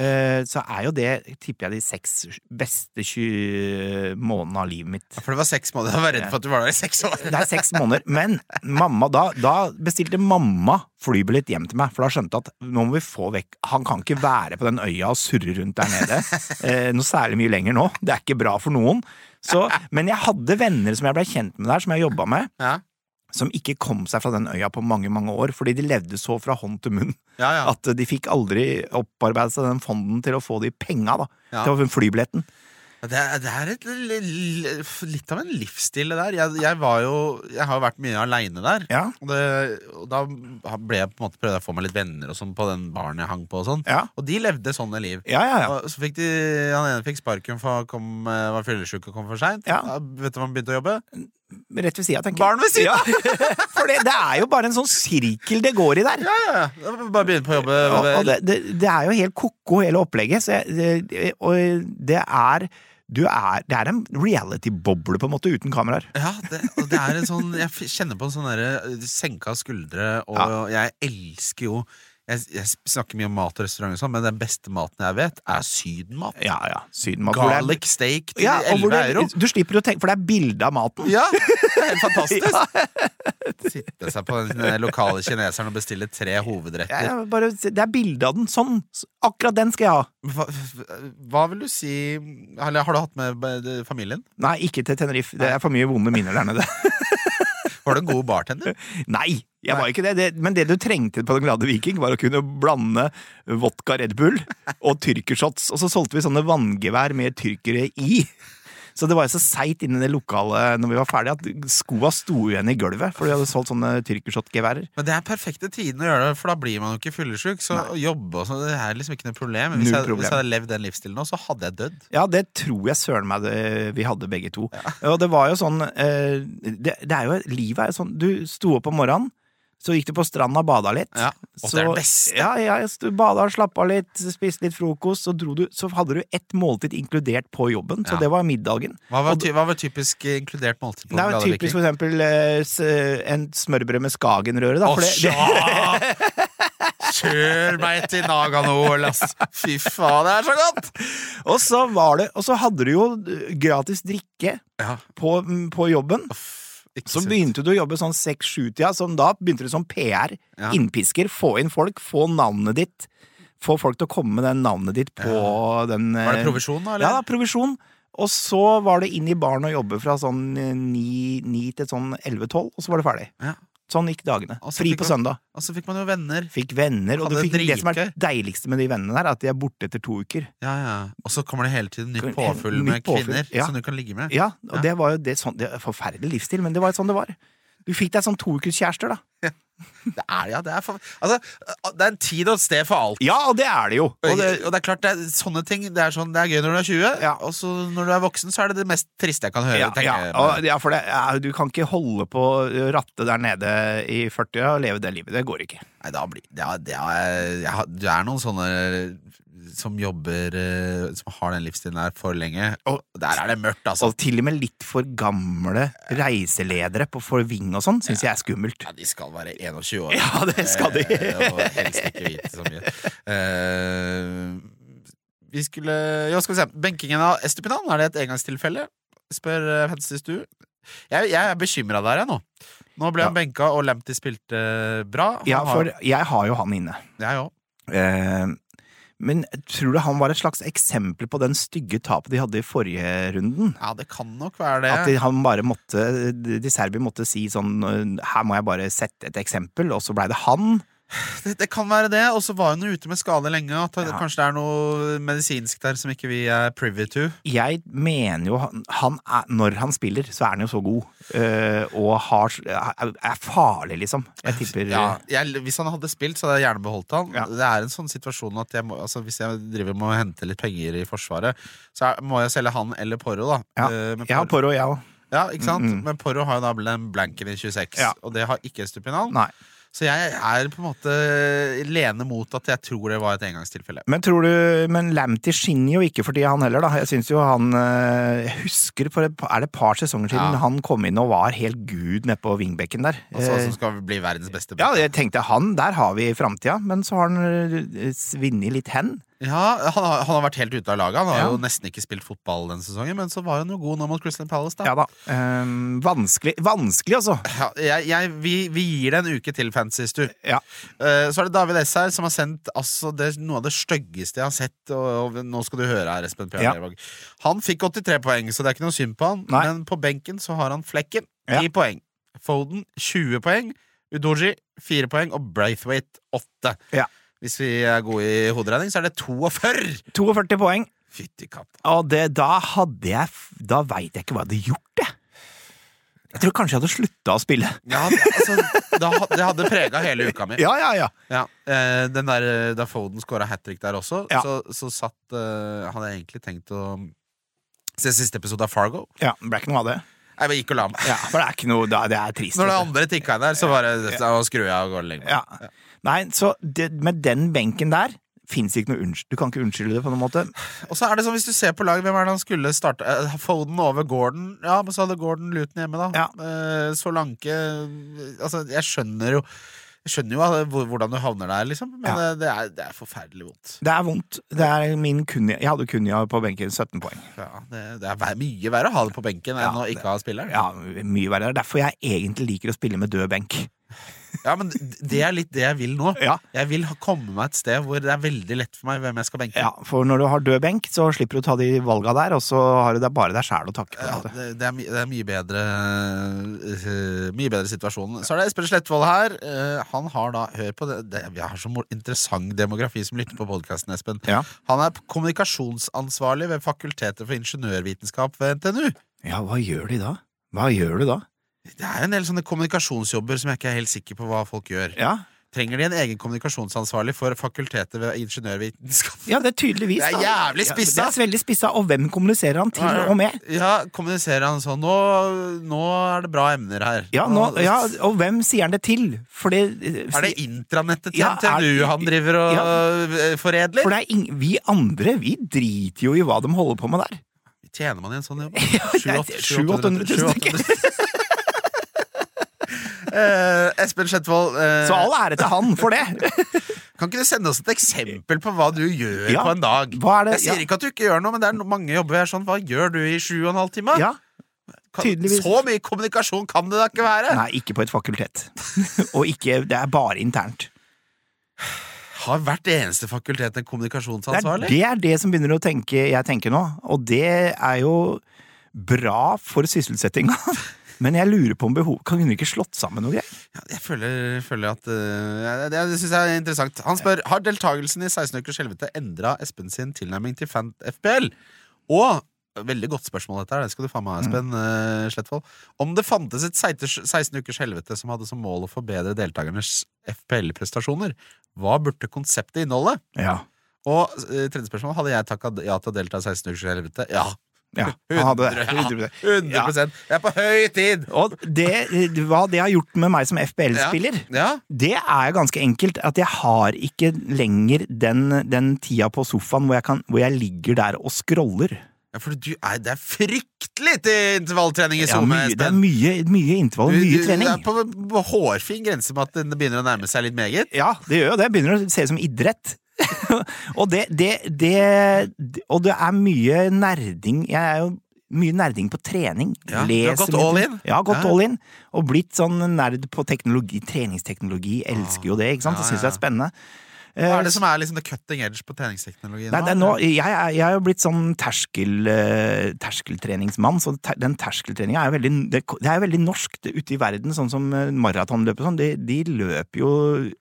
C: eh, Så er jo det, tipper jeg, de seks beste 20 månedene av livet mitt.
B: For det var seks måneder. Jeg var redd for at du var der i seks år.
C: Det er seks måneder. Men mamma, da, da bestilte mamma flybillett hjem til meg, for da skjønte jeg at nå må vi få vekk Han kan ikke være på den øya og surre rundt der nede eh, noe særlig mye lenger nå. Det er ikke bra for noen. Så, men jeg hadde venner som jeg blei kjent med der, som jeg jobba med.
B: Ja.
C: Som ikke kom seg fra den øya på mange mange år, fordi de levde så fra hånd til munn
B: Ja, ja.
C: at de fikk aldri opparbeida seg den fonden til å få de penga, da.
B: Ja.
C: Til å få flybilletten.
B: Det er, det er et, li- li- litt av en livsstil, det der. Jeg, jeg, var jo, jeg har jo vært mye aleine der.
C: Ja.
B: Og, det, og da ble jeg på en måte prøvde jeg å få meg litt venner og sånn på den baren jeg hang på. Og sånn
C: Ja.
B: Og de levde sånne liv.
C: Ja, ja, ja.
B: Og så fikk de, Han ene fikk sparken for han kom, eh, var fyllesyk og kom for seint.
C: Ja.
B: Vet du hva han begynte å jobbe?
C: Rett ved sida, tenker jeg.
B: Barn ved siden.
C: Ja. For det, det er jo bare en sånn sirkel det går i der.
B: Ja, ja, ja. Bare begynne på å jobbe.
C: Og, og det, det, det er jo helt ko-ko, hele opplegget. Så jeg, det, og det er du er, Det er en reality-boble, på en måte, uten kameraer.
B: Ja, det, og det eh, er en sånn Jeg f- kjenner på en sånn derre senka skuldre, og jeg elsker jo Jeg, jeg snakker mye om mat og restaurant, og sånn, men den beste maten jeg vet, er sydenmat.
C: Ja, ja. Sydenmat. hvor det er-
B: Garlic steak til
C: Ja, og hvor
B: 11 euro.
C: du, du slipper å tenke, for det er bilde av maten.
B: Ja, det er helt fantastisk! Sitte seg på den eh, lokale kineseren og bestille tre
C: Ja,
B: hovedretter.
C: ja, bare, det er bilde av den. Sånn. s- Akkurat den skal jeg ha.
B: Hva, hva vil du si Eller har du hatt med eh, familien?
C: Nei, ikke til Tenerife. Det er for mye vonde minner der nede.
B: Var du en god bartender?
C: Nei, jeg var ikke det. det. Men det du trengte på Den glade viking, var å kunne blande vodka Red Bull og tyrkershots. Og så solgte vi sånne vanngevær med tyrkere i. Så det var jo så seigt inne i det lokalet når vi var ferdige, at skoa sto igjen i gulvet. For de hadde solgt sånne tyrkershotgeværer.
B: Men det er perfekte tiden å gjøre det, for da blir man jo ikke fyllesyk. Så å jobbe og sånn, det er liksom ikke noe problem. Men Hvis
C: Null
B: jeg, hvis
C: problem.
B: jeg hadde levd den livsstilen nå, så hadde jeg dødd.
C: Ja, det tror jeg søren meg det, vi hadde begge to. Og det var jo sånn eh, det, det er jo, Livet er jo sånn Du sto opp om morgenen, så gikk du på stranda og bada litt.
B: Ja, og det er det beste.
C: Ja, ja, jeg sto- bada og slappa litt, spiste litt frokost, så, dro du, så hadde du ett måltid inkludert på jobben, så
B: Ja.
C: det var middagen.
B: Hva var,
C: Og-
B: ty hva var typisk eh, inkludert måltid på
C: Det er jo
B: Glade
C: typisk for
B: Viking?
C: eksempel eh, s- en smørbrød med Skagenrøre, da.
B: Å,
C: for det- det-
B: sja! Kjør meg til Naganool, ass! Fy faen, det er så godt!
C: og, så var det, og så hadde du jo eh, gratis drikke
B: Ja,
C: på, på jobben.
B: ikke
C: Så
B: sunt.
C: begynte du å jobbe sånn 6-7-tida, som da begynte du som PR.
B: Ja.
C: Innpisker. Få inn folk, få navnet ditt. Få folk til å komme med den navnet ditt på den eh,
B: Var det provisjon, da?
C: Ja,
B: Eller?
C: da, provisjon. Og så var det inn i baren og jobbe fra sånn 9, til sånn 11-12, og så var det ferdig.
B: Ja.
C: Sånn gikk dagene.
B: Og så
C: Fri
B: fikk
C: på
B: man-
C: søndag.
B: Og så fikk man jo venner.
C: Fikk venner, og
B: Hadde
C: du fikk det som er
B: dritgøy.
C: deiligste med de vennene der, er at de er borte etter to uker.
B: Ja, ja. Og så kommer det hele tiden nytt
C: Nytt
B: påfyll med
C: påfyll,
B: kvinner
C: ja.
B: som du kan ligge med.
C: Ja, og
B: Ja.
C: det var jo det, sånn, det er forferdelig livsstil, men det var jo sånn det var. Du fikk deg sånn to ukers kjærester, da.
B: Det er, ja, det, er for, altså, det er en tid og et sted for alt.
C: Ja, og det er det jo!
B: Og det, og det er klart, det er sånne ting Det er, sånn, det er gøy når du er 20,
C: Ja.
B: og så når du er voksen, så er det det mest triste jeg kan høre.
C: Ja,
B: tenker jeg.
C: ja, og, ja for det, er- du kan ikke holde på rattet der nede i 40 og leve det livet. Det går ikke.
B: Nei, da blir det er, det, er, jeg har- det er noen sånne som jobber eh, Som har den livsstilen her for lenge. Og der er det mørkt, altså.
C: Og til og med litt for gamle reiseledere på Forving og sånn syns jeg er skummelt.
B: Ja, de skal være 21 år.
C: Ja, det skal de.
B: Eh, og helst ikke vite så mye. Eh, vi skulle Jo, skal vi se. Benkingen av Estupinan, er det et engangstilfelle? Spør eh, Fancy Stu. Jeg, jeg er bekymra der, jeg, nå. Nå ble
C: Ja.
B: han benka, og Lamptey spilte eh, bra. Han
C: Ja,
B: har-
C: for jeg har jo han inne.
B: Jeg òg.
C: Eh, Men tror du han var et slags eksempel på den stygge tapet de hadde i forrige runden?
B: Ja, det kan nok være det.
C: At de, han bare måtte De Serbi måtte si sånn Her må jeg bare sette et eksempel, og så blei det han.
B: det, det kan være det. Og så var hun ute med skade lenge. At det,
C: Ja.
B: Kanskje det er noe medisinsk der som ikke vi er privy to.
C: jeg mener jo han, han er, Når han spiller, så er han jo så god. eh, og har, er, er farlig, liksom. Jeg tipper
B: Ja, jeg, hvis han hadde spilt, så hadde jeg gjerne beholdt han.
C: Ja.
B: Det er en sånn situasjon at jeg må, altså, hvis jeg driver med å hente litt penger i Forsvaret, så er, må jeg selge han eller Porro, da.
C: Ja.
B: Eh, men
C: Jeg har
B: Porro,
C: Poro, jeg òg.
B: ja, ikke sant? Men Porro har jo da den blanken i 26,
C: Ja.
B: og det har ikke Stupinal.
C: Nei.
B: Så jeg er på en måte lene mot at jeg tror det var et engangstilfelle.
C: Men tror du Men Lamptey skinner jo ikke for tida, han heller, da. Jeg syns jo han eh, Jeg husker for et, pa- Er det et par sesonger siden
B: Ja.
C: han kom inn og var helt gud nede på wingbacken der?
B: Altså,
C: Eh,
B: som skal bli verdens beste
C: ja,
B: back.
C: jeg tenkte han, der har vi framtida, men så har han eh, svinnet litt hen.
B: Ja, han har, han har vært helt ute av laget. Han har
C: Ja.
B: jo nesten ikke spilt fotball den sesongen, men så var han jo god nå mot Crystal Palace, da.
C: Ja da. Eh, vanskelig, vanskelig altså.
B: Ja, jeg, jeg, vi, vi gir det en uke til, Fancy Stu.
C: Ja.
B: Eh, Så er det David S her som har sendt altså, det, er noe av det styggeste jeg har sett. Og, og nå skal du høre her, Espen P.
C: Ja.
B: Lervåg. Han fikk 83 poeng, så det er ikke noe synd på han.
C: Nei.
B: Men på benken så har han Flekken, 10
C: Ja.
B: poeng. Foden, 20 poeng. Udoji, 4 poeng. Og Braithwaite, 8.
C: Ja.
B: Hvis vi er gode i hoderegning, så er det 42!
C: 42 poeng.
B: Fytti katta.
C: Og det, da hadde jeg f- Da veit jeg ikke hva jeg hadde gjort, jeg. Jeg tror kanskje jeg hadde slutta å spille.
B: Ja, det- altså, det ha- det hadde prega hele uka mi.
C: Ja, ja, ja.
B: Ja, eh, den der, eh, Da Foden skåra hat trick der også,
C: Ja.
B: så, så satt eh, Hadde jeg egentlig tenkt å se siste episode av Fargo.
C: Ja, det ble ikke noe av det.
B: Jeg bare gikk og la meg.
C: Ja, for det er ikke noe da- Det er trist.
B: Når det
C: vet du.
B: andre tikka inn der, så bare da skrur jeg av og går og legger meg.
C: Ja. Nei, så det, med den benken der fins ikke noe unnskyld. Du kan ikke unnskylde det på noen måte.
B: Og så er det sånn, hvis du ser på laget, hvem er det han skulle starte eh, Foden over Gordon. Ja, men så hadde Gordon Luton hjemme, da.
C: Ja.
B: Eh, Solanke eh, Altså, jeg skjønner jo Jeg skjønner jo eh, hvor- hvordan du havner der, liksom, men
C: Ja.
B: eh, det, er, det er forferdelig vondt.
C: Det er vondt. Det er min kunya. Jeg hadde kunya på benken 17 poeng.
B: Ja, det, det er ver- mye verre å ha det på benken enn
C: Ja,
B: å
C: det-
B: ikke ha spilleren.
C: Ja, mye verre. Det er Derfor jeg egentlig liker å spille med død benk.
B: Ja, men d- det er litt det jeg vil nå.
C: Ja.
B: Jeg vil ha- komme meg et sted hvor det er veldig lett for meg hvem jeg skal benke.
C: Ja, For når du har død benk, så slipper du å ta de valga der, og så har du deg bare deg sjæl å takke
B: Ja,
C: for. Ja,
B: Eh, det, det, er my, det er mye bedre eh, Mye bedre situasjon. Så er det Espen Slettvold her. Eh, han har da Hør på det, det Vi har så mo- interessant demografi som lytter på podkasten, Espen.
C: Ja.
B: Han er kommunikasjonsansvarlig ved Fakultetet for ingeniørvitenskap ved NTNU.
C: ja, hva gjør de da? Hva gjør du da?
B: Det er en del sånne kommunikasjonsjobber som jeg ikke er helt sikker på hva folk gjør.
C: Ja,
B: Trenger de en egen kommunikasjonsansvarlig for Fakultetet ved ingeniørvitenskap?
C: ja det er tydeligvis
B: Det er
C: da.
B: jævlig
C: Ja,
B: spissa.
C: det er veldig spissa, og hvem kommuniserer han til og med?
B: Ja, kommuniserer han sånn nå, nå er det bra emner her.
C: Ja, nå, ja, og hvem sier han det til? For det, eh,
B: Er det intranettet til
C: Ja, er-
B: NTNU han driver og eh, foredler?
C: for det er ing vi andre vi driter jo i hva de holder på med der.
B: Tjener man i en sånn jobb?
C: det er 700 000
B: Eh, Espen Skjetvold, eh,
C: Så all ære til han for det!
B: kan ikke du sende oss et eksempel på hva du gjør
C: Ja,
B: på en dag?
C: hva er det-
B: Jeg sier
C: ja.
B: ikke at du ikke gjør noe, men det er no- mange jobber jeg er sånn Hva gjør du i sju og en halv time?
C: Ja,
B: Kan-
C: tydeligvis.
B: Så mye kommunikasjon kan det da ikke være!
C: Nei, ikke på et fakultet. Og ikke, det er bare internt.
B: Har hvert eneste fakultet en
C: Det er,
B: kommunikasjonsansvarlig?
C: det er det som begynner å tenke jeg tenker nå, og det er jo bra for sysselsettinga. Men jeg lurer på om behov Kan hun ikke slått sammen noe greier?
B: Ja, Jeg føler, føler at eh, Det, det syns jeg er interessant. Han spør har deltakelsen i 16 ukers helvete endra Espen sin tilnærming til fan FPL. Og Veldig godt spørsmål, dette her. Det skal du faen meg ha,
C: Mm.
B: Espen eh, Slettvold. Om det fantes et 16 ukers helvete som hadde som mål å forbedre deltakernes FPL-prestasjoner, hva burde konseptet inneholde?
C: Ja.
B: Og eh, tredje spørsmål, hadde jeg takka ja til å delta i 16 ukers helvete? Ja.
C: ja han hadde
B: 100,
C: det.
B: ja, 100
C: 100%. Ja.
B: Det er på høy tid!
C: Og det, hva det har gjort med meg som FBL-spiller,
B: Ja.
C: det er ganske enkelt at jeg har ikke lenger den, den tida på sofaen hvor jeg, kan, hvor jeg ligger der og scroller.
B: Ja, for du er, det er fryktelig til intervalltrening i
C: Ja,
B: SoMe,
C: mye, det er
B: Espen.
C: mye, mye intervall,
B: eh, Du-
C: mye
B: du-
C: trening.
B: Det er på, på hårfin grense med at det begynner å nærme seg litt meget.
C: Ja, det gjør jo det. Begynner å se ut som idrett. og det, det, det Og det er mye nerding. Jeg er jo mye nerding på trening.
B: Ja, du har gått
C: mye.
B: all in.
C: Ja, gått
B: Ja.
C: all in. Og blitt sånn nerd på teknologi. Treningsteknologi. Elsker jo det, ikke sant?
B: Ah. Ja,
C: Det syns
B: ja.
C: jeg er spennende.
B: Hva er det som er liksom det cutting edge på treningsteknologien?
C: Nei, det er nå, jeg, er- jeg er jo blitt sånn terskel, eh, terskeltreningsmann, så ter, den terskeltreninga er jo veldig, det, det er jo veldig norsk det, ute i verden, sånn som eh, maratonløpet og sånn. De, de løper jo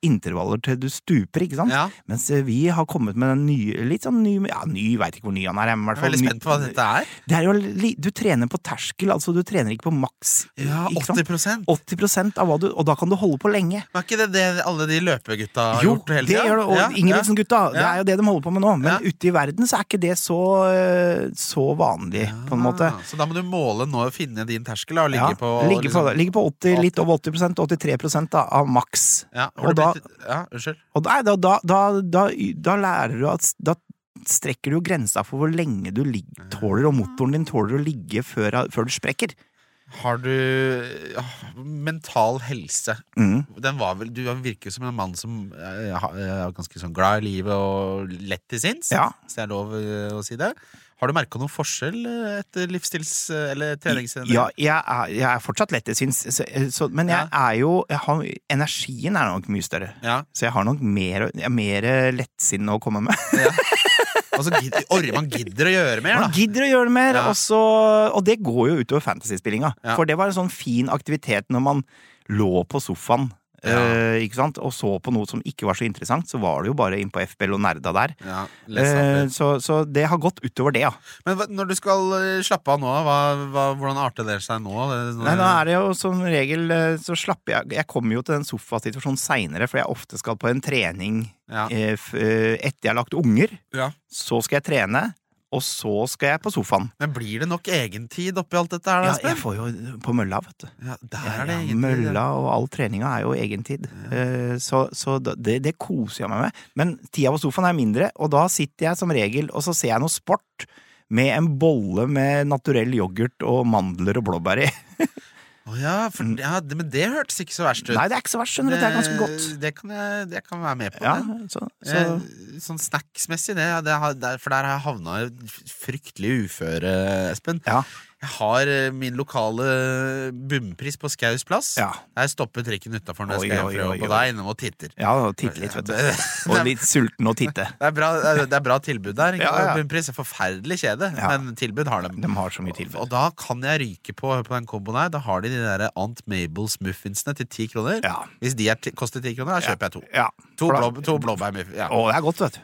C: intervaller til du stuper, ikke sant?
B: Ja.
C: Mens eh, vi har kommet med den nye, litt sånn ny Ja, ny, veit ikke hvor ny han er, men i
B: Jeg
C: hvert
B: er
C: fall
B: veldig spent på hva dette er.
C: Det er jo li- Du trener på terskel, altså du trener ikke på maks.
B: Ja,
C: ikke sant?
B: 80
C: 80 av hva du Og da kan du holde på lenge.
B: Var ikke det det alle de løpegutta har
C: Jo,
B: gjort hele
C: det
B: tiden?
C: gjør det. Og
B: Ja,
C: Ingebrigtsen-gutta, det
B: Ja.
C: er jo det de holder på med nå. Men
B: Ja.
C: ute i verden så er ikke det så, eh, så vanlig, på en måte.
B: Ah, Så da må du måle nå og finne din terskel da, og ligge
C: Ja,
B: på
C: ligger, på,
B: liksom-
C: ligger på 80, litt over 80 83 da, av maks.
B: Ja, har
C: Og
B: du
C: da-
B: blitt- ja, unnskyld.
C: Og da, da, da, da, da, da lærer du at da strekker du jo grensa for hvor lenge du ligger, tåler, og motoren din tåler å ligge før, før du sprekker.
B: Har du ah, mental helse?
C: Mm.
B: Den var vel, du virker jo som en mann som eh, ha- er ganske sånn glad i livet og lett til sinns.
C: Ja.
B: Hvis det er lov eh, å si det. Har du merka noen forskjell eh, etter livsstils- eh, eller treningsendring?
C: Ja, jeg er, jeg er fortsatt lett, jeg syns, så, så, men jeg er jo jeg har, Energien er nok mye større.
B: Ja.
C: Så jeg har nok mer, jeg er mer lettsinn å komme med.
B: Altså, gid, orre, man gidder å gjøre mer,
C: Man
B: da.
C: gidder å gjøre mer,
B: Ja.
C: og, så, og det går jo utover fantasyspillinga.
B: Ja.
C: For det var en sånn fin aktivitet når man lå på sofaen.
B: Ja.
C: eh, ikke sant? Og så på noe som ikke var så interessant, så var det jo bare inn på FBL og nerda der.
B: Ja, les opp
C: Eh,
B: litt. sånn
C: så, så det har gått utover det, ja.
B: Men hva- når du skal eh, slappe av nå, hva, hva, hvordan arter det seg nå? Det-
C: Nei, da er det jo som regel eh, så slapper jeg Jeg kommer jo til den sofasituasjonen seinere, for jeg ofte skal på en trening
B: Ja.
C: eh, f- eh, etter jeg har lagt unger.
B: Ja.
C: Så skal jeg trene, og så skal jeg på sofaen.
B: Men blir det nok egentid oppi alt dette her,
C: Ja,
B: da,
C: jeg
B: Espen?
C: får jo på mølla, vet du.
B: Ja, der
C: Ja,
B: er det
C: ja,
B: egentid.
C: mølla og all treninga er jo egen tid. Eh, Så, så da- det, det koser jeg meg med. Men tida på sofaen er mindre, og da sitter jeg som regel og så ser jeg noe sport. Med en bolle med naturell yoghurt og mandler og blåbær i.
B: Å ja, for, ja, det- men det hørtes ikke så verst ut.
C: Mm. Nei, det er ikke så verst, skjønner du. Det er ganske godt.
B: Det, kan jeg, det kan jeg være med på.
C: Ja,
B: det.
C: så, så
B: Eh, Sånn snacksmessig, det, det, har- der- for der har jeg havna i fryktelig uføre, Espen.
C: Ja.
B: Jeg har eh, min lokale bunnpris på Skaus plass.
C: Ja.
B: Der stopper trikken utafor når
C: Oi,
B: jeg skal
C: oi,
B: hjem fra
C: oi,
B: jobb, og
C: oi.
B: da er jeg innom og titter.
C: Ja, og titte litt, vet du. Og litt sulten og titte.
B: Det er bra, eh, det er bra tilbud der. Ikke?
C: Ja, ja.
B: Bunnpris er forferdelig kjede,
C: Ja.
B: men tilbud har de.
C: De har så mye
B: Og
C: tilbud.
B: da kan jeg ryke på, på den komboen her. Da har de de der Aunt Mabels muffinsene til ti kroner.
C: Ja.
B: Hvis de er ti- koster ti kroner, da kjøper jeg to.
C: Ja.
B: To,
C: for da-
B: blå, to blåbærmuffins. Ja.
C: Å, det er godt, vet du.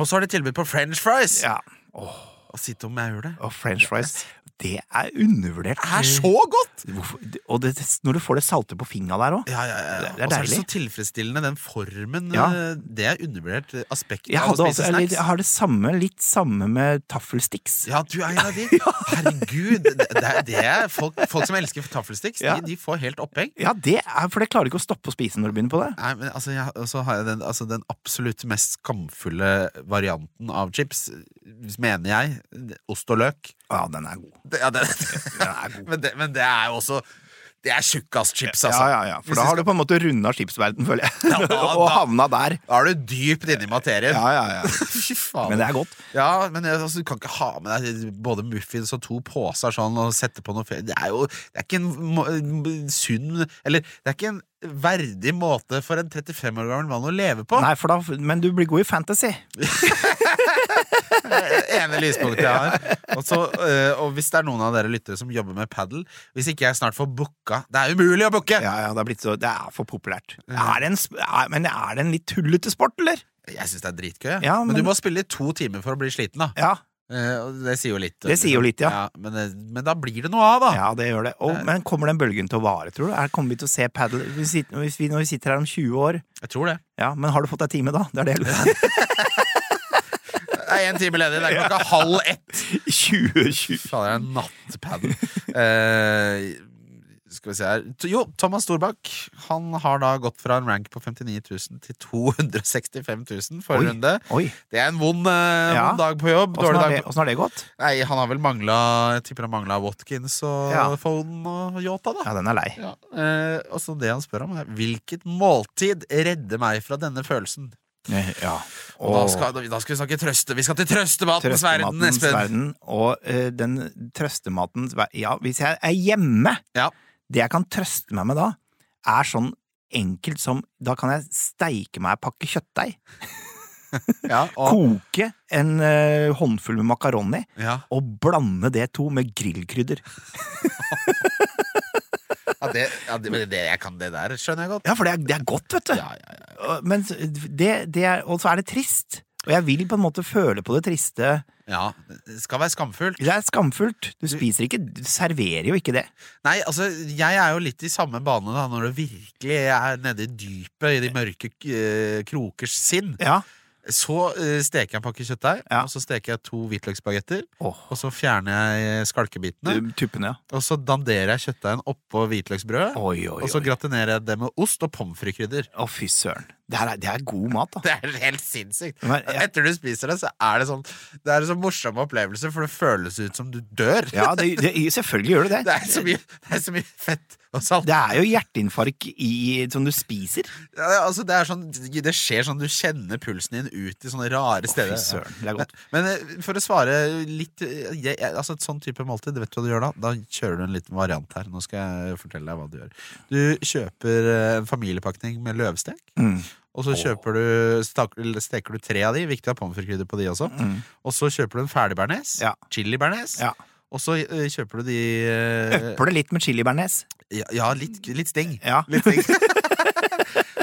B: Og så har de tilbud på french fries!
C: Ja.
B: Og sitt om jeg gjør det.
C: Og french fries. Det er undervurdert.
B: Det er så godt!
C: Hvorfor- Og det, når du får det salte på fingra der òg.
B: Ja, ja, ja.
C: Det- det er
B: Og så er det
C: deilig.
B: så tilfredsstillende, den formen.
C: Ja.
B: eh, Det er undervurdert eh, aspekt
C: Jeg,
B: av å
C: hadde
B: spise
C: også- eller
B: snacks.
C: jeg har det samme, litt samme med taffelsticks.
B: Ja, du er en av de. Herregud. Det, det, er- det er folk, folk som elsker taffelsticks,
C: Ja.
B: de, de får helt oppheng.
C: Ja, det er, for det klarer ikke å stoppe å spise når du begynner på det.
B: Nei, men altså, jeg, og så har jeg den, altså, den absolutt mest skamfulle varianten av chips, eh, mener jeg. Ost og løk.
C: Ja, den er god.
B: Det, ja, det, men, det, men det er jo også Det er tjukkaschips, altså.
C: Ja, ja, ja. For
B: Hvis
C: da
B: vi
C: har du på en måte runda skipsverden, føler jeg.
B: Ja, da-
C: og
B: da-
C: havna der.
B: skal- da er du dypt inne i materien.
C: Ja, ja, ja.
B: Fy faen.
C: Men det er godt.
B: Ja, men jeg, altså, du kan ikke ha med deg både muffins og to poser sånn og sette på noe fe- Det er jo det er ikke en må- en sunn Eller det er ikke en verdig måte for en 35 år gammel mann å leve på.
C: Nei, for da, men du blir god i fantasy.
B: Det ene lyspunktet jeg har. Og, så, eh, og hvis det er noen av dere lyttere som jobber med padel Hvis ikke jeg snart får booka Det er umulig å booke!
C: Ja, ja, det, er blitt så, det er for populært. Er det en, sp- er, men er det en litt tullete sport, eller?
B: Jeg syns det er dritgøy.
C: Ja,
B: men...
C: men-
B: du må spille i to timer for å bli sliten, da.
C: Ja,
B: Eh, og det sier jo litt.
C: Det sier jo litt, ja.
B: men, det- men da blir det noe av, da.
C: ja det gjør det. Og, men kommer den bølgen til å vare, tror du? Er, kommer vi til å se padel hvis vi, hvis vi, når vi sitter her om 20 år?
B: Jeg tror det.
C: Ja, men har du fått deg time da? Det er det jeg lurer på.
B: Det er én time ledig. Det er klokka halv ett.
C: 2020.
B: Fader, det er nattpadel. Eh, skal vi se her T- Jo, Thomas Storbakk Han har da gått fra en rank på 59 000 til 265 000
C: Oi,
B: forrige runde.
C: oi.
B: Det er en vond, eh,
C: Ja.
B: vond dag på jobb.
C: Åssen
B: Dårlig
C: har,
B: dag
C: det-
B: på...
C: åssen har det gått?
B: Nei, han har vel mangla Jeg tipper han mangla Watkins og
C: Ja.
B: Foden og Yota, da.
C: Ja, den er lei.
B: Ja, eh, og så det han spør om, er hvilket måltid redder meg fra denne følelsen?
C: Ja.
B: Og da skal, da skal vi snakke trøste. Vi skal til trøstematens verden,
C: Trøstematens
B: Espen!
C: verden. Og eh, den trøstematens ver- Ja, hvis jeg er hjemme,
B: Ja.
C: det jeg kan trøste meg med da, er sånn enkelt som Da kan jeg steike meg en pakke kjøttdeig,
B: Ja, og,
C: koke en eh, håndfull med makaroni,
B: ja.
C: og blande det to med grillkrydder.
B: Ja, det, ja, det, men det, jeg kan det der, skjønner jeg godt.
C: Ja, for det er, det er godt, vet du.
B: Ja, ja, ja.
C: Og- Men s- det, det er, og så er det trist. Og jeg vil på en måte føle på det triste.
B: ja, det skal være skamfullt.
C: Det er skamfullt. Du spiser ikke, du serverer jo ikke det.
B: Nei, altså, jeg er jo litt i samme bane da, når det virkelig er nede i dypet, i de mørke eh, krokers sinn.
C: Ja.
B: Så eh, steker jeg en pakke kjøttdeig,
C: Ja.
B: og så steker jeg to hvitløksbagetter,
C: Åh.
B: og så fjerner jeg eh, skalkebitene.
C: Tuppene, ja.
B: Og så danderer jeg kjøttdeigen oppå hvitløksbrødet.
C: Oi, oi, oi.
B: Og så gratinerer jeg det med ost og pommes frites-krydder.
C: Å, fy søren. Det her er, det er god mat, da.
B: Det er helt sinnssykt.
C: Men jeg-
B: Etter du spiser det, så er det sånn Det er en sånn morsom opplevelse, for det føles ut som du dør.
C: Ja, det, det, selvfølgelig gjør det
B: Det
C: det.
B: er så mye, det er så mye fett og salt.
C: Det er jo hjerteinfarkt i, som du spiser.
B: Ja, altså, det, er sånn, det skjer sånn du kjenner pulsen din ut i sånne rare steder.
C: søren, det er godt.
B: Men eh, for å svare litt eh, jeg, jeg- Altså Et sånn type måltid, vet du hva du gjør da? Da kjører du en liten variant her. Nå skal jeg fortelle deg hva du gjør. Du kjøper eh, en familiepakning med løvstek.
C: Mm.
B: Og så kjøper du, stak, eller steker du tre av de, viktig å ha pommes frites-krydder på de også. Og så kjøper du en ferdig bearnés.
C: Mm. Ja.
B: Chili bearnés.
C: Ja.
B: Og så eh, kjøper du de eh,
C: Øpper det litt med chili bearnés.
B: ja, ja, litt, litt sting.
C: Ja.
B: Litt sting.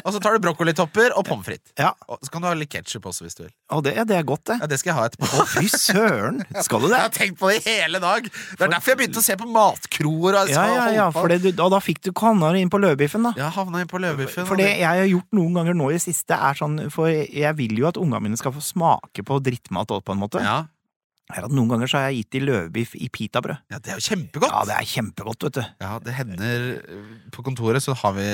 B: og så tar du brokkolitopper og pommes frites.
C: Ja,
B: Og så kan du ha litt ketsjup også, hvis du vil.
C: og det, ja, det er godt, det.
B: Ja, Det skal jeg ha etterpå.
C: Å, fy søren! Skal du det?
B: Jeg har tenkt på det i hele dag! Det er derfor jeg begynte å se på matkroer. Og,
C: Ja, ja, ja. For det, du- og da fikk du kanna inn på løvbiffen, da.
B: ja, havna inn på løvbiffen. og
C: For det jeg har gjort noen ganger nå i det siste, er sånn For jeg vil jo at ungene mine skal få smake på drittmat òg, på en måte.
B: ja.
C: Er at noen ganger så har jeg gitt de løvbiff i pitabrød.
B: ja, det er jo kjempegodt!
C: Ja, det er kjempegodt, vet du.
B: Ja, det hender eh, På kontoret så har vi,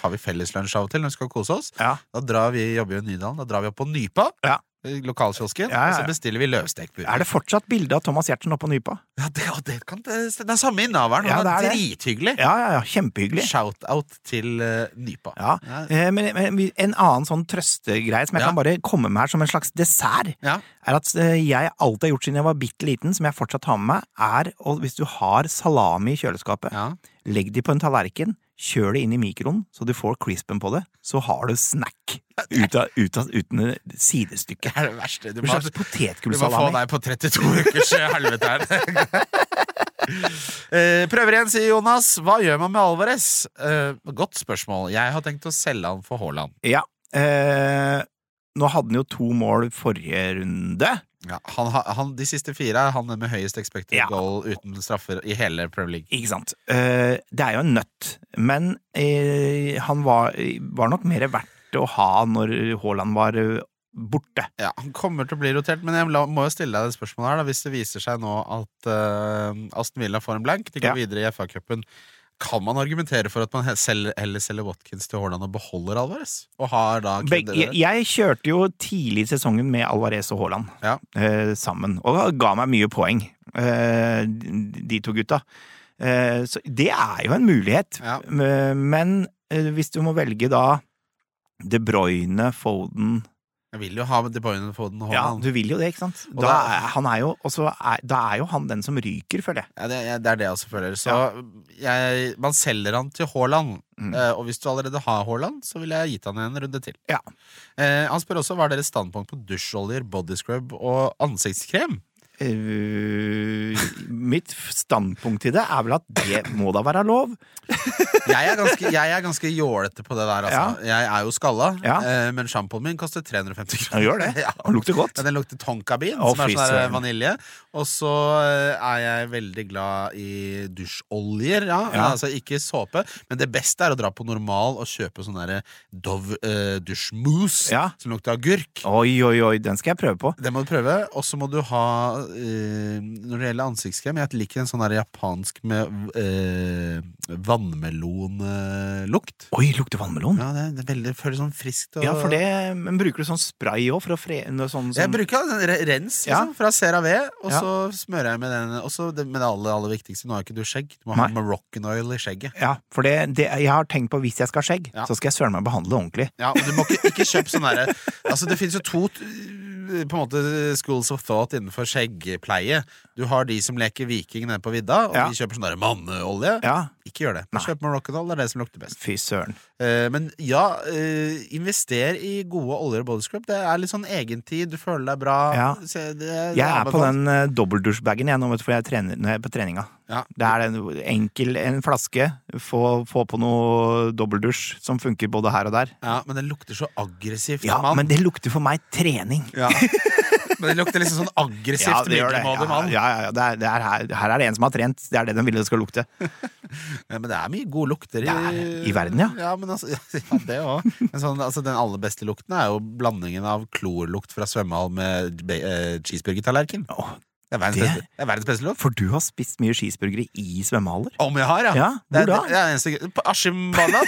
B: tar vi felleslunsj av og til når vi skal kose oss.
C: Ja.
B: Da drar vi, jobber vi i Nydalen, da drar vi opp på Nypa.
C: Ja.
B: i lokalkiosken,
C: Ja, ja,
B: og så
C: ja.
B: bestiller vi løvstekburger.
C: Er det fortsatt bilde av Thomas Giertsen oppå Nypa?
B: Ja, det, og det, kan, det, det er samme innehaveren.
C: Ja,
B: Han
C: det
B: er
C: er det.
B: drithyggelig.
C: Ja, ja, ja. Kjempehyggelig.
B: Shout-out til eh, Nypa.
C: Ja.
B: Ja.
C: Eh, Men, men vi- en annen sånn trøstegreie som jeg
B: Ja.
C: kan bare komme med her som en slags dessert,
B: Ja.
C: er at eh, jeg alltid har gjort siden jeg var bitte liten, som jeg fortsatt har med meg, er å hvis du har salami i kjøleskapet,
B: Ja.
C: legg de på en tallerken, kjør det inn i mikroen så du får crispen på det, så har du snack ut av, ut av, uten sidestykke.
B: Det er det verste. Du
C: En
B: må,
C: slags
B: du må få
C: potetgullsalami.
B: deg på 32 ukers helvete her. Eh, Prøver igjen, sier Jonas. Hva gjør man med Alvarez? Eh, godt spørsmål. Jeg har tenkt å selge han for Haaland.
C: Ja. Eh, nå hadde han jo to mål forrige runde.
B: Ja, han, har- han, de siste fire er han med høyest expected
C: Ja.
B: goal uten straffer i hele Premier League.
C: Ikke sant. Eh, det er jo en nøtt, men eh, han var, var nok mer verdt å ha når Haaland var eh, borte.
B: Ja, Han kommer til å bli rotert, men jeg la- må jo stille deg det spørsmålet her da, hvis det viser seg nå at eh, Aston Villa får en blank. De går
C: Ja.
B: videre i FA-cupen. Kan man argumentere for at man he- selv, heller selger Watkins til Haaland og beholder Alvarez? Og har da
C: Beg- jeg, jeg kjørte jo tidlig i sesongen med Alvarez og Haaland
B: Ja.
C: eh, sammen, og ga meg mye poeng, eh, de de to gutta. Eh, så det er jo en mulighet,
B: Ja.
C: Eh, men eh, hvis du må velge da De Bruyne, Foden
B: Jeg vil jo ha De Bruyne på den
C: Ja,
B: Haaland.
C: du vil jo det, ikke sant?
B: Og
C: Da
B: da-
C: er, han er jo, og så er, da er jo han den som ryker, føler jeg.
B: Ja, det, jeg- det er det jeg også føler. Så jeg, man selger han til Haaland.
C: Mm.
B: eh, og hvis du allerede har Haaland, så ville jeg gitt han en runde til.
C: Ja.
B: Eh, han spør også hva er deres standpunkt på dusjoljer, bodyscrub og ansiktskrem.
C: Eh, mitt standpunkt til det er vel at det må da være lov.
B: Jeg er ganske, jeg er ganske jålete på det der, altså. Jeg er jo skalla,
C: Ja.
B: eh, men sjampoen min koster 350 kroner.
C: Ja, gjør det.
B: Ja.
C: Han lukter godt.
B: Ja, Den lukter tonkabin,
C: Å,
B: som er
C: fy
B: sånn der
C: søren.
B: vanilje. Og så eh, er jeg veldig glad i dusjoljer. Ja.
C: Ja.
B: Altså ikke såpe, men det beste er å dra på normal og kjøpe sånn derre Dove eh, dusjmousse
C: Ja.
B: som lukter agurk.
C: Oi, oi, oi, den skal jeg prøve på.
B: Det må du prøve. Og så må du ha eh, Når det gjelder ansiktskrem, jeg liker en sånn der japansk med eh, vannmelonlukt.
C: Oi, lukter vannmelon. Ja,
B: Ja, det, det er veldig, føles sånn friskt og
C: for det, men bruker du sånn spray òg for å fre... noe Sånn,
B: Jeg
C: som-
B: bruker den re- rens
C: Ja.
B: liksom, fra CeraVe, og
C: Ja.
B: så smører jeg med den. Og så det, men det aller, aller viktigste, nå har ikke du skjegg. Du må ha
C: Nei.
B: Moroccan oil i skjegget.
C: ja, for det, det, jeg har tenkt på hvis jeg skal ha skjegg,
B: Ja.
C: så skal jeg søren meg behandle ordentlig.
B: Ja, og du må ikke, ikke kjøpe sånn derre Altså, det fins jo to t- på en måte schools of thought innenfor skjeggpleie. Du har de som leker viking nede på vidda, og
C: Ja.
B: de kjøper sånn derre manneolje.
C: Ja,
B: Ikke gjør det.
C: Nei.
B: Kjøp Moroccan oil, det er det som lukter best.
C: fy søren.
B: Eh, men ja, eh, invester i gode oljer og body scrub. Det er litt sånn egentid, du føler deg bra.
C: Ja.
B: Se, det,
C: Jeg er på
B: anbefalt.
C: den eh, dobbeldusjbagen jeg nå, vet du, for jeg trener når jeg er på treninga.
B: Ja.
C: Det er en enkel en flaske, få, få på noe dobbeldusj som funker både her og der.
B: Ja, men den lukter så aggressivt.
C: Ja,
B: mann.
C: men det lukter for meg trening.
B: Ja. Men det lukter liksom sånn aggressivt
C: det gjør det.
B: middelmådig
C: Ja,
B: mann.
C: ja, ja, ja. Det er, det er her, her er det en som har trent. Det er det de ville det skal lukte.
B: Ja, Men det er mye gode lukter i,
C: Det er- i verden, ja.
B: Ja, men altså, ja det òg. Men sånn, altså, den aller beste lukten er jo blandingen av klorlukt fra svømmehall med be- eh, cheeseburgertallerken.
C: Åh,
B: Det er verdens
C: Det-
B: beste, det er verdens beste lukt.
C: For du har spist mye cheeseburgere i svømmehaller.
B: Om jeg har, ja.
C: Ja,
B: det, er-
C: hvor da?
B: Det, det er eneste, gr- på Askimbanan.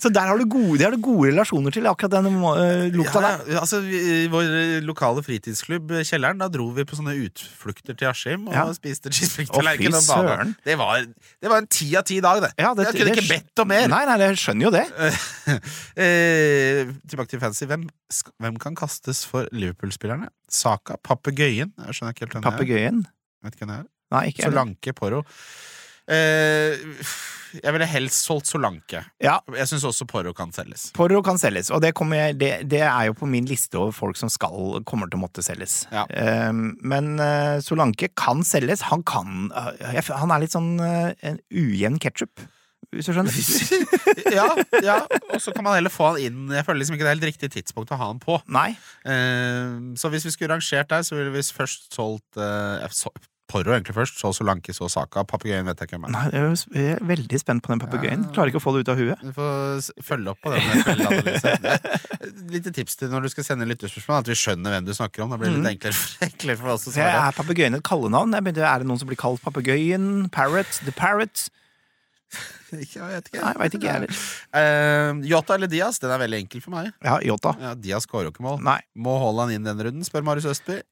C: Så der har du gode, det har du gode relasjoner til, akkurat den øh,
B: Ja,
C: lukta der.
B: ja, altså, vi, I vår eh, lokale fritidsklubb, eh, Kjelleren, da dro vi på sånne utflukter til Askim og
C: Ja.
B: spiste
C: Å,
B: cheeseburgertallerken
C: fy
B: og bada.
C: søren.
B: Det var, det var en ti av ti dag, det.
C: Ja, det-
B: jeg kunne
C: det-
B: ikke bedt om mer.
C: Nei, nei, jeg skjønner jo det.
B: eh, tilbake til fancy. Hvem, sk- hvem kan kastes for Liverpool-spillerne? Saka? Papegøyen? Jeg skjønner ikke helt hvem det er.
C: Papegøyen.
B: Vet ikke hvem det er.
C: Nei, ikke heller.
B: Solanke Porro. Eh, jeg ville helst solgt Solanke.
C: Ja.
B: Jeg syns også Porro kan selges.
C: Porro kan selges, og det, kommer jeg, det, det er jo på min liste over folk som skal, kommer til å måtte selges.
B: Ja.
C: Eh, men eh, Solanke kan selges. Han kan eh, jeg f- Han er litt sånn eh, en ujevn ketsjup, hvis du skjønner.
B: ja, ja, og så kan man heller få han inn Jeg føler liksom ikke det er helt riktig tidspunkt å ha han på.
C: Nei.
B: Eh, så hvis vi skulle rangert der, så ville vi først solgt eh, so Porro egentlig først, så Solanke, så Saka. Papegøyen vet jeg ikke hvem er.
C: Nei, jeg er jo s- jeg er veldig spent på den papegøyen. Klarer ikke å få det ut av huet.
B: Du får s- følge opp på den kveldsanalysen. Et lite tips til når du skal sende lytterspørsmål, at vi skjønner hvem du snakker om. Da blir det
C: Mm.
B: litt enklere for, enklere for oss å
C: Så jeg-
B: svare.
C: Er papegøyen et kallenavn? Jeg begynte- Er det noen som blir kalt papegøyen? Parrot? The Parrot?
B: Ikke, jeg vet ikke.
C: Nei, veit ikke jeg heller.
B: Eh, Jota eller Diaz? Den er veldig enkel for meg.
C: Ja, Jota.
B: Ja, Diaz skårer jo ikke mål.
C: Nei.
B: Må Haaland inn den runden, spør Marius Østby.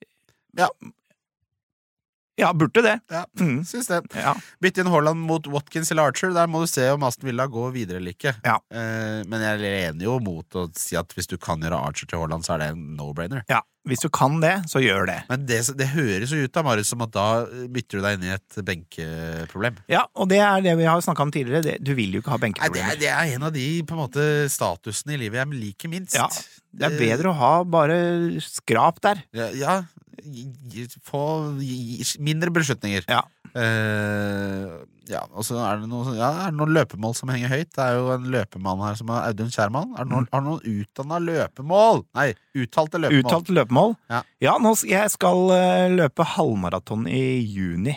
C: Ja, burde det.
B: Ja,
C: Mm.
B: syns det.
C: Ja.
B: Bytte inn Haaland mot Watkins eller Archer. Der må du se om Aston Villa går videre eller ikke.
C: Ja.
B: Eh, men jeg lener jo mot å si at hvis du kan gjøre Archer til Haaland, så er det en no-brainer.
C: ja. Hvis du kan det, så gjør det.
B: Men det, det høres jo ut da, Marius, som at da bytter du deg inn i et benkeproblem.
C: Ja, og det er det vi har snakka om tidligere. Det, du vil jo ikke ha
B: Nei, det, er,
C: benkeproblemer.
B: det er en av de på en måte statusene i livet jeg liker minst.
C: Ja, Det er bedre å ha bare skrap der.
B: Ja, ja gi- gi- få gi- gi- mindre beslutninger.
C: Ja.
B: Eh, ja, og så er det, noe, sånn- ja, er det noen løpemål som henger høyt. Det er jo en løpemann her som er Audun Kjærmann. Er det noen, Har du noen utdanna løpemål? Nei, uttalte løpemål.
C: Uttalt løpemål.
B: Ja.
C: nå, s- jeg skal eh, løpe halvmaraton i juni.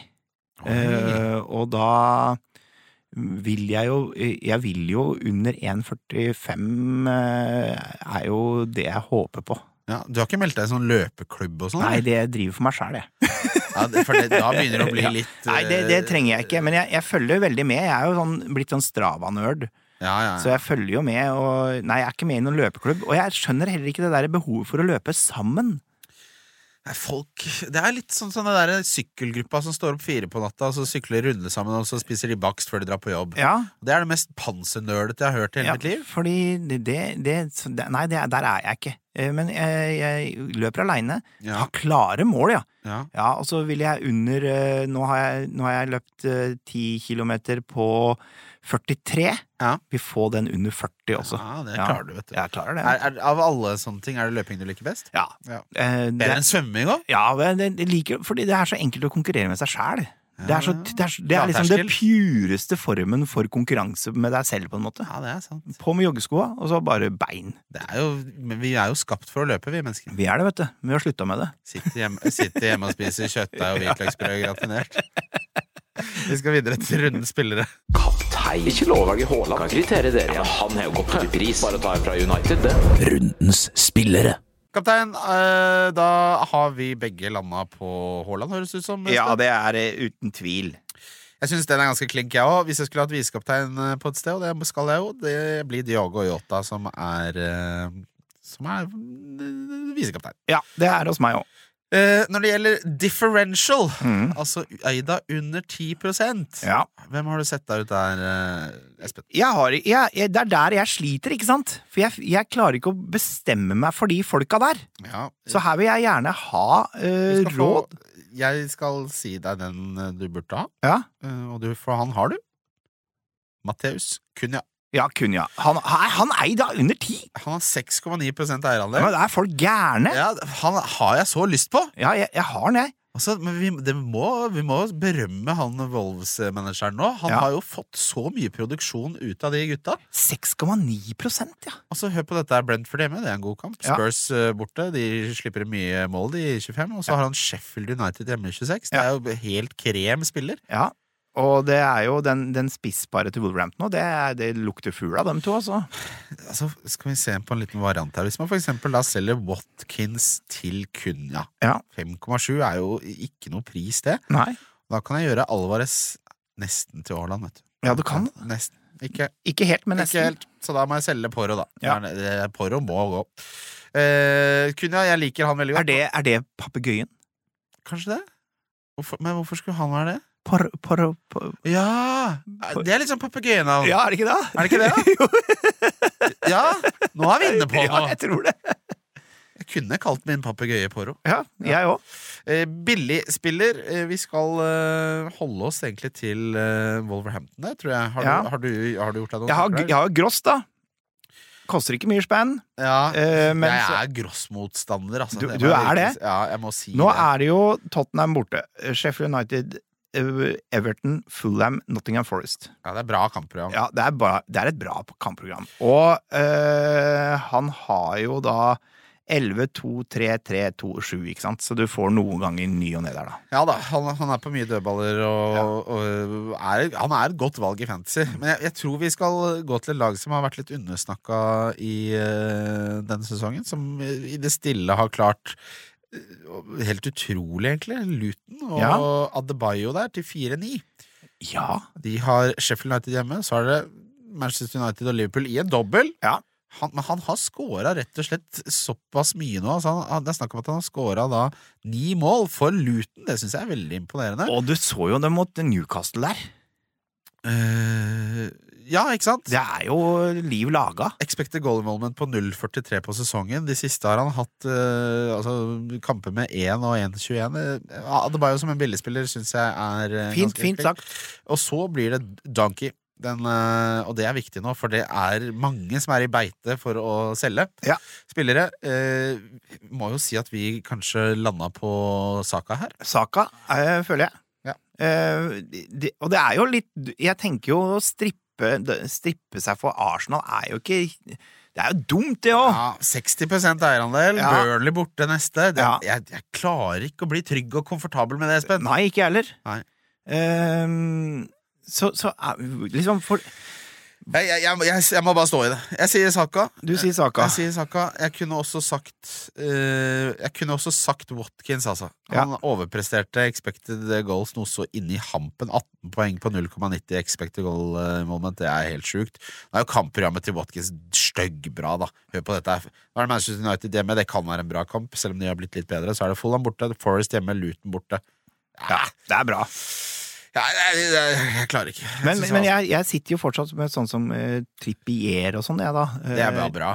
B: Oi.
C: Eh, og da vil jeg jo Jeg vil jo under 1,45 eh, er jo det jeg håper på.
B: Ja, du har ikke meldt deg i sånn løpeklubb og sånn?
C: Nei,
B: eller?
C: det driver for meg sjæl, jeg.
B: Ja, det- for det, da begynner det å
C: Ja.
B: bli litt
C: Nei, det, det
B: eh,
C: trenger jeg ikke. Men jeg, jeg følger veldig med. Jeg er jo sånn, blitt sånn Strava-nerd.
B: eh, Ja, ja.
C: Så jeg følger jo med, og Nei, jeg er ikke med i noen løpeklubb. Og jeg skjønner heller ikke det der behovet for å løpe sammen.
B: Nei, folk Det er litt sånn som den der sykkelgruppa som står opp fire på natta, og så sykler de runde sammen, og så spiser de bakst før de drar på jobb.
C: Ja,
B: Det er det mest pansernølete jeg har hørt i hele
C: ja
B: mitt liv.
C: fordi det, det så det- Nei, det, der er jeg ikke. Eh, Men jeg, jeg løper aleine.
B: Ja.
C: Har klare mål, ja.
B: Ja.
C: Ja, og så vil jeg under eh, Nå har jeg, nå har jeg løpt eh, 10 kilometer på 43.
B: Ja.
C: Vil få den under 40 også.
B: Ja, det
C: Ja.
B: klarer du, vet du.
C: Jeg klarer det.
B: Er, er, av alle sånne ting, er det løping du liker best?
C: ja.
B: Ja.
C: Eh, det,
B: Bedre enn svømming òg?
C: ja men det, det liker, fordi det er så enkelt å konkurrere med seg sjæl. Det er, så,
B: Ja, ja.
C: det, er, så- det er liksom den pureste formen for konkurranse med deg selv, på en måte.
B: Ja, det er sant.
C: På med joggeskoa, og så bare bein.
B: Det er jo, men vi er jo skapt for å løpe, vi mennesker.
C: Vi er det, vet du. Vi har slutta med det.
B: Sitter hjemme, sitter hjemme og spiser kjøttdeig og hvitløksbrød gratinert. Vi skal videre til rundens spillere.
E: Kaptein. Ikke lov å velge Haaland. Kan kritere dere. Ja, men han har jo gått opp i pris. Bare ta en fra United, det.
A: Rundens spillere.
B: Kaptein, eh, da har vi begge landa på Haaland, høres det ut som. Espen.
C: det er eh, uten tvil.
B: Jeg syns den er ganske klink, jeg òg. Hvis jeg skulle hatt visekaptein eh, på et sted, og det skal jeg jo, det blir Diogo Yota som er eh, Som er eh, visekaptein.
C: Ja, det er hos meg òg.
B: Eh, når det gjelder differential,
C: Mm.
B: altså Eida under 10
C: Ja.
B: Hvem har du sett deg ut der, eh, Espen?
C: jeg har, jeg, jeg, det er der jeg sliter, ikke sant? For jeg, jeg klarer ikke å bestemme meg for de folka der.
B: Ja,
C: Så her vil jeg gjerne ha eh, råd.
B: Jeg skal si deg den eh, du burde ha,
C: Ja,
B: eh, og du, for han har du. Matheus Kunja.
C: ja Kunja. Han, han, han eier da under ti!
B: Han har 6,9
C: Ja, men
B: eierandel.
C: da er folk gærne!
B: Ja, han har jeg så lyst på!
C: Ja, jeg, jeg har den, jeg.
B: Altså, men vi, det må, vi må berømme han Wolves-manageren nå. Han
C: Ja.
B: har jo fått så mye produksjon ut av de gutta.
C: 6,9 prosent, ja.
B: Og så hør på dette her Brentford hjemme, det er en god kamp.
C: Ja.
B: Spurs eh, borte, de slipper inn mye mål de i 25. Og så har han Sheffield United hjemme i 26. Det er jo helt krem spiller.
C: ja. Og det er jo den, den spissbare til Wolverhampton nå, det, er- det lukter fugl av dem to, altså.
B: Altså, skal vi se på en liten variant her. Hvis man for eksempel da selger Watkins til Kunya.
C: Ja.
B: 5,7 er jo ikke noe pris, det.
C: Nei.
B: Da kan jeg gjøre Alvarez nesten til Haaland, vet du.
C: Ja, du kan.
B: Nesten. Ikke,
C: Ikke helt, men
B: ikke
C: nesten.
B: helt. Så da må jeg selge Poro, da.
C: Ja.
B: Det er- Poro må gå. Eh, Kunya, jeg liker han veldig
C: Er
B: godt.
C: det, er det papegøyen?
B: Kanskje det? Hvorfor, men hvorfor skulle han være det?
C: Por, por, por.
B: Ja! Det er litt sånn papegøyenavn.
C: Ja, er det ikke det?
B: Er det ikke det, da?
C: jo,
B: Ja! Nå er vi inne på
C: ja,
B: noe.
C: jeg tror det.
B: Jeg kunne kalt min papegøye Poro.
C: Ja, jeg òg.
B: Eh, billig spiller. Eh, vi skal eh, holde oss egentlig til eh, Wolverhampton der, tror jeg. Har,
C: Ja.
B: du, har, du, har du gjort deg noen
C: Jeg har,
B: tanker
C: jeg har gross, da. Koster ikke mye spenn.
B: der? Ja.
C: eh, men
B: jeg
C: så-
B: er grossmotstander, altså.
C: Du-
B: Det må
C: du
B: jeg
C: er
B: virkelig
C: det?
B: si. Ja, jeg må si
C: Nå
B: det.
C: er det jo Tottenham borte. Eh, Sheffield United, eh, Everton, Fulham, Nottingham Forest.
B: Ja, det er bra kampprogram.
C: Ja, det er, bra, det er et bra kampprogram. Og eh, han har jo da 11, 2, 3, 3, 2, 7, ikke sant? Så du får noen ganger ny og ned der, da.
B: Ja da, han, han er på mye dødballer og, og er, han er et godt valg i fantasy. Men jeg, jeg tror vi skal gå til et lag som har vært litt undersnakka i eh, denne sesongen. Som i det stille har klart eh, Helt utrolig, egentlig. Luton og
C: Ja.
B: Adebayo der til 4-9.
C: Ja.
B: De har Sheffield United hjemme, så har det Manchester United og Liverpool i en dobbel.
C: Ja.
B: Han, men han har scora rett og slett såpass mye nå. Altså han, han- det er snakk om at han har scora da ni mål for Luton. Det syns jeg er veldig imponerende.
C: Og du så jo det mot Newcastle der.
B: Eh, ja, ikke sant?
C: Det er jo liv laga.
B: Expected goal involvement på 0,43 på sesongen. De siste har han hatt eh, altså, kamper med 1 og 1,21. Eh, Adebayo som en billigspiller syns jeg er eh,
C: Fint,
B: ganske
C: fint
B: riktig.
C: sagt.
B: Og så blir det donkey. Den, eh, og det er viktig nå, for det er mange som er i beite for å selge
C: Ja.
B: spillere. Eh, må jo si at vi kanskje landa på saka her.
C: Saka, eh, føler jeg.
B: Ja.
C: Eh, de, og det er jo litt Jeg tenker jo å strippe, strippe seg for Arsenal er jo ikke Det er jo dumt, det òg!
B: Ja, 60 eierandel.
C: Ja.
B: Burnley borte neste. Det,
C: Ja.
B: jeg, jeg klarer ikke å bli trygg og komfortabel med det, Espen.
C: Nei, ikke jeg heller.
B: Nei.
C: Eh, så, så er, liksom for,
B: Jeg, jeg, jeg, jeg, jeg må bare stå i det. Jeg sier saka.
C: Du sier Saka.
B: Jeg sier Saka. Jeg kunne også sagt eh, Jeg kunne også sagt Watkins, altså. Han overpresterte expected goals noe så inni hampen. 18 poeng på 0,90 expected goal eh, moment. Det er helt sjukt. Det er jo kampprogrammet til Watkins styggbra, da. Hør på dette her. Nå er det Manchester United hjemme. Det kan være en bra kamp, selv om de har blitt litt bedre. Så er det Fulham borte, Forest hjemme, Luton borte.
C: Ja, det er bra.
B: Jeg, jeg, jeg, jeg klarer ikke. Jeg
C: Men,
B: synes
C: men
B: han-
C: jeg, jeg sitter jo fortsatt med sånn som eh, Trippier og sånn, jeg, da. Eh,
B: Det er bare bra.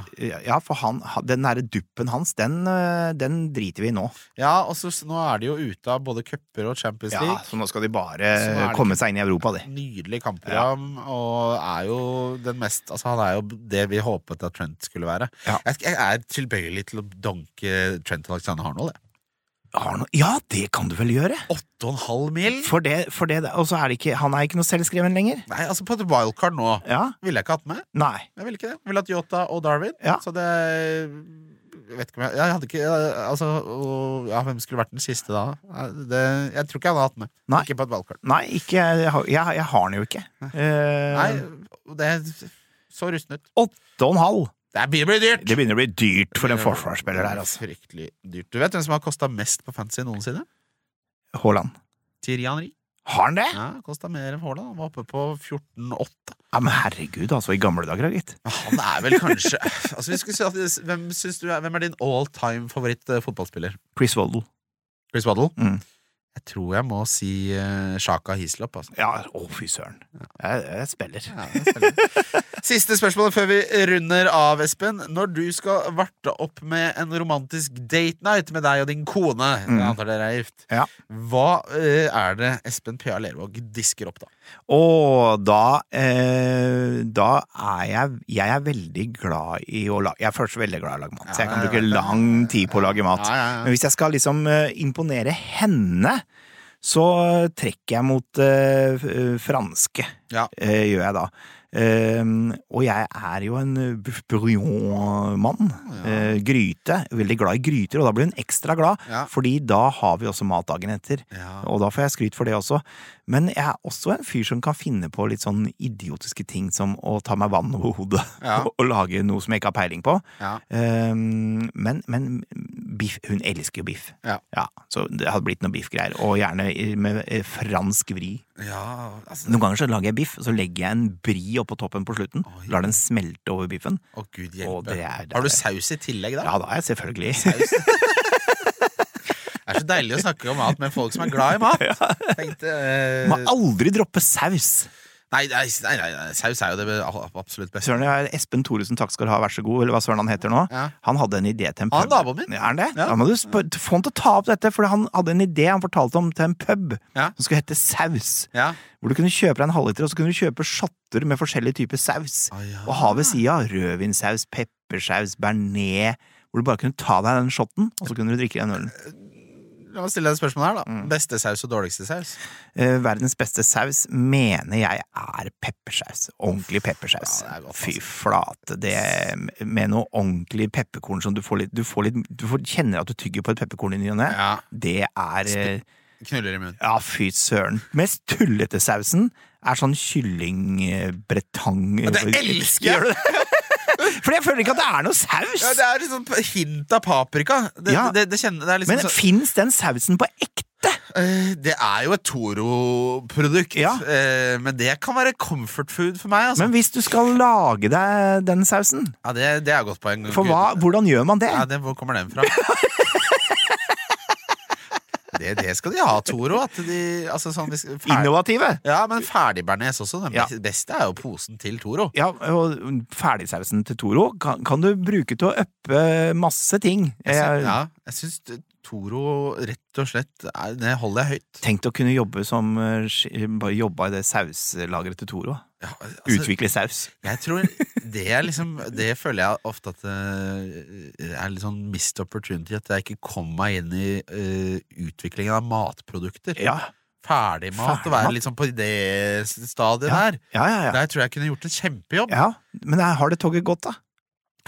C: Ja, for han, han- den derre duppen hans, den, eh, den driter vi i nå.
B: Ja, og så så nå er de jo ute av både cuper og Champions League.
C: Ja, så nå skal de
B: Så nå er
C: bare
B: det
C: komme seg inn i Europa, de.
B: Nydelig kampprogram, og er jo den mest Altså, han er jo det vi håpet at Trent skulle være.
C: Ja.
B: Jeg, jeg er tilbøyelig til å donke Trent Alexander Harnold, jeg.
C: Har noe- Ja, det kan du vel gjøre!
B: Åtte og en halv mil?
C: For det, for det og så er det ikke Han er ikke noe selvskreven lenger.
B: Nei, altså, på et wildcard nå
C: Ja?
B: ville jeg ikke hatt med.
C: Nei.
B: Jeg ville ikke det. Jeg ville hatt Yota og Darwin.
C: Ja.
B: Så det jeg vet ikke om jeg, jeg hadde ikke Altså, og, ja, hvem skulle vært den siste da? Det, jeg tror ikke jeg hadde hatt med.
C: Nei.
B: Ikke på et wildcard.
C: Nei, ikke Jeg, har- jeg, jeg har den jo ikke. Eh,
B: Nei, det så rusten ut.
C: Åtte og en halv!
B: Det begynner å bli dyrt!
C: Det begynner å bli dyrt for en forsvarsspiller der, altså.
B: Fryktelig dyrt. Du vet hvem som har kosta mest på fantasy noensinne?
C: Haaland.
B: Thierry Henry.
C: Har han det?
B: Ja, kosta mer enn Haaland. Han var oppe på 14,8.
C: Ja, Men herregud, altså. I gamle dager, da, gitt.
B: Han er vel kanskje altså, vi skulle si at, hvem, syns du er, hvem er din all time favoritt eh, fotballspiller?
C: Chris Waddle.
B: Chris Waddle?
C: Mm.
B: Jeg tror jeg må si eh, Shaka Hislop. Altså.
C: Ja, å fy søren. Jeg, jeg spiller.
B: Ja, det er spennende. Siste spørsmål før vi runder av, Espen. Når du skal varte opp med en romantisk date night med deg og din kone, jeg antar dere er gift,
C: Ja.
B: hva eh, er det Espen P.A. Lervåg disker opp, da?
C: Og da, eh, da er jeg Jeg er veldig glad i å lage Jeg er først veldig glad i å lage mat, så jeg
B: Ja,
C: kan
B: jeg
C: bruke
B: vet det.
C: lang tid på å lage mat.
B: Ja, ja, ja.
C: Men hvis jeg skal liksom eh, imponere henne, så trekker jeg mot eh, f- eh, franske.
B: Ja.
C: Eh, gjør jeg da. Eh, og jeg er jo en eh, bouf bourguignon-mann. Eh, gryte. Veldig glad i gryter, og da blir hun ekstra glad,
B: Ja.
C: fordi da har vi også mat dagen etter.
B: Ja.
C: Og da får jeg skryt for det også. Men jeg er også en fyr som kan finne på litt sånn idiotiske ting som å ta meg vann over hodet
B: Ja.
C: og lage noe som jeg ikke har peiling på.
B: Ja.
C: Ehm, men men biff, hun elsker jo biff.
B: Ja.
C: Så det hadde blitt noe biffgreier. Og gjerne i- med eh, fransk vri.
B: Ja, altså,
C: Noen ganger så lager jeg biff, så legger jeg en bri oppå toppen på slutten.
B: Oi.
C: Lar den smelte over biffen.
B: Å, gud
C: Å,
B: hjelpe.
C: det er- det
B: Har du
C: er-
B: saus i tillegg, da?
C: Ja, da er jeg selvfølgelig
B: Det er så deilig å snakke om mat med folk som er glad i mat. Tenkte, eh,
C: Må aldri droppe saus!
B: nei, nei, nei, nei, nei, saus er jo det a- absolutt beste.
C: Søren, jeg- Espen Thoresen, takk skal du ha, vær så god, eller hva søren han heter nå.
B: Ja.
C: Han hadde en idé til en pub.
B: Han er naboen min.
C: Ja, er han det?
B: Ja.
C: Da må du spør, få han til å ta opp dette, for han hadde en idé han fortalte om til en pub
B: Ja.
C: som skulle hete Saus.
B: Ja.
C: Hvor du kunne kjøpe deg en halvliter, og så kunne du kjøpe shotter med forskjellige typer saus.
B: Å, Ah, ja.
C: Og ha ved sida rødvinsaus, peppersaus, bearnés. Hvor du bare kunne ta deg den shotten, og så kunne du drikke den ølen.
B: La meg stille deg et spørsmål her, da. Beste saus og dårligste saus?
C: Eh, verdens beste saus mener jeg er peppersaus. Ordentlig peppersaus.
B: Ja, det er godt,
C: Fy
B: altså.
C: flate. Det med noe ordentlig pepperkorn som du får litt Du, får litt, du får, kjenner at du tygger på et pepperkorn i ny og ne.
B: Ja.
C: Det er eh,
B: Knuller i munnen.
C: Ja, fy søren. Mest tullete sausen er sånn kyllingbretang
B: det elsker jeg!
C: For jeg føler ikke at det er noe saus!
B: Ja, det er liksom hint av paprika. Det,
C: Ja.
B: det, det, kjenner, det er liksom
C: Men
B: så-
C: fins den sausen på ekte? helvete!
B: Eh, Det er jo et Toro-produkt,
C: Ja.
B: eh, men det kan være comfort food for meg. Altså.
C: Men hvis du skal lage deg den sausen,
B: ja, det, det er et godt poeng.
C: for hva, hvordan gjør man det?
B: Ja, det, hvor kommer den fra? det, det skal de ha, Toro. At de, altså, sånn, hvis- fer-
C: Innovative!
B: ja, men ferdig bearnés også. Den
C: Ja.
B: bes- beste er jo posen til Toro.
C: Ja, og ferdigsausen til Toro kan, kan du bruke til å øppe masse ting.
B: Jeg, sy-
C: Jeg-
B: ja, jeg syns Toro rett og slett er, Det holder jeg høyt.
C: Tenk å kunne jobbe som eh, sk- Bare jobba i det sauslageret til Toro.
B: Ja, altså,
C: Utvikle saus.
B: Jeg tror det er liksom Det føler jeg ofte at det er litt sånn missed opportunity. At jeg ikke kom meg inn i eh, utviklingen av matprodukter.
C: Ja,
B: Ferdigmat. Å
C: Ferdigmat.
B: være liksom på det stadiet der.
C: ja, ja. ja.
B: Der tror jeg jeg kunne gjort en kjempejobb.
C: ja men jeg har det toget godt, da.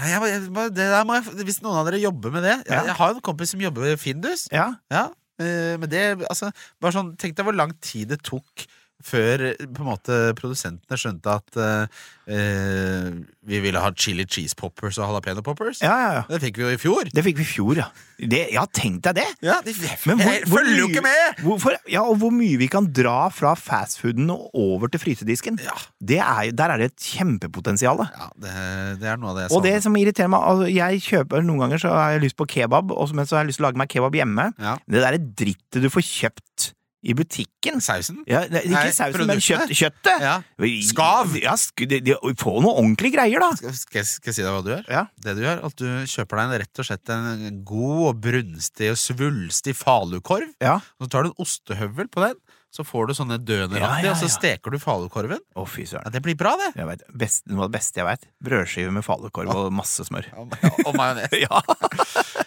B: Nei, Jeg, jeg, bare- det der må jeg, hvis noen av dere jobber med det
C: Ja.
B: jeg, jeg har jo en kompis som jobber ved Findus.
C: Ja.
B: Ja, eh, men det, altså, bare sånn, Tenk deg hvor lang tid det tok før eh, på en måte, produsentene skjønte at eh, eh, vi ville ha chili cheese poppers og jalapeno poppers.
C: ja, ja, ja.
B: Det fikk vi jo i fjor.
C: Det fikk vi i fjor, ja. Det, ja, tenk deg det!
B: Ja, de,
C: Men hvor-
B: jeg
C: hvor
B: følger jo
C: mye-
B: ikke med!
C: Hvorfor, ja, og hvor mye vi kan dra fra fastfooden og over til frysedisken.
B: Ja.
C: Det er, jo- der er det et kjempepotensial.
B: Ja, det, det er noe av det jeg
C: Og det
B: savner.
C: som irriterer meg altså, Jeg kjøper Noen ganger så har jeg lyst på kebab, og så- men så har jeg lyst til å lage meg kebab hjemme.
B: Ja.
C: Det derre drittet du får kjøpt i butikken
B: Sausen?
C: ja, det, Ikke
B: Nei,
C: sausen, men
B: produktene.
C: kjøtt, kjøttet.
B: Ja.
C: Skav! Ja, sk de, de, få noe ordentlige greier, da.
B: Skal, skal, jeg, skal jeg si deg hva du gjør?
C: Ja.
B: Det du gjør, at du kjøper deg en, rett og slett en god og brunstig og svulstig falukorv.
C: Ja.
B: Så tar du en ostehøvel på den, så får du sånne døneraktige,
C: Ja, ja,
B: og så
C: ja.
B: steker du falukorven.
C: Å, fy søren.
B: Ja, det blir bra, det.
C: Jeg vet, best, noe av det beste jeg veit. Brødskive med falukorv og masse smør.
B: Og majones.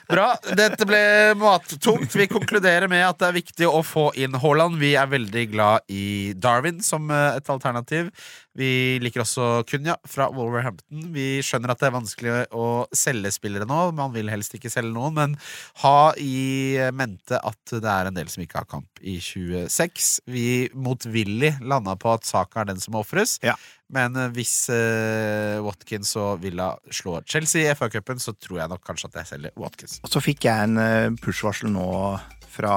B: Bra. Dette ble mattungt. Vi konkluderer med at det er viktig å få inn Haaland. Vi er veldig glad i Darwin som eh, et alternativ. Vi liker også Kunya fra Wolverhampton. Vi skjønner at det er vanskelig å selge spillere nå. Man vil helst ikke selge noen, men ha i mente at det er en del som ikke har kamp i 26. Vi motvillig landa på at Saka er den som må ofres.
C: Ja.
B: Men eh, hvis eh, Watkins og Villa slår Chelsea i FA-cupen, så tror jeg nok kanskje at jeg selger Watkins.
C: Og så fikk jeg en eh, push-varsel nå fra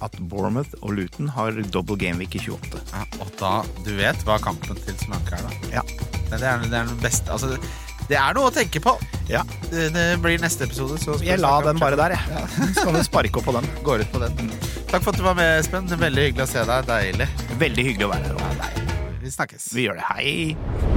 C: at Bournemouth og Luton har double gameweek i 28.
B: Ja, og da, du vet hva kampen til Slanke er, da.
C: Ja.
B: Det, det, er, det er den beste Altså, det, det er noe å tenke på.
C: ja.
B: Det, det blir neste episode, så skal
C: Jeg
B: vi
C: la
B: snakke om
C: den bare der, jeg. Så kan du sparke opp på den.
B: Chelsea. Går ut på den. Takk for at du var med, Espen. Veldig hyggelig å se deg. Deilig.
C: Veldig hyggelig å være her.
B: Vi snakkes.
C: Vi gjør det. Hei!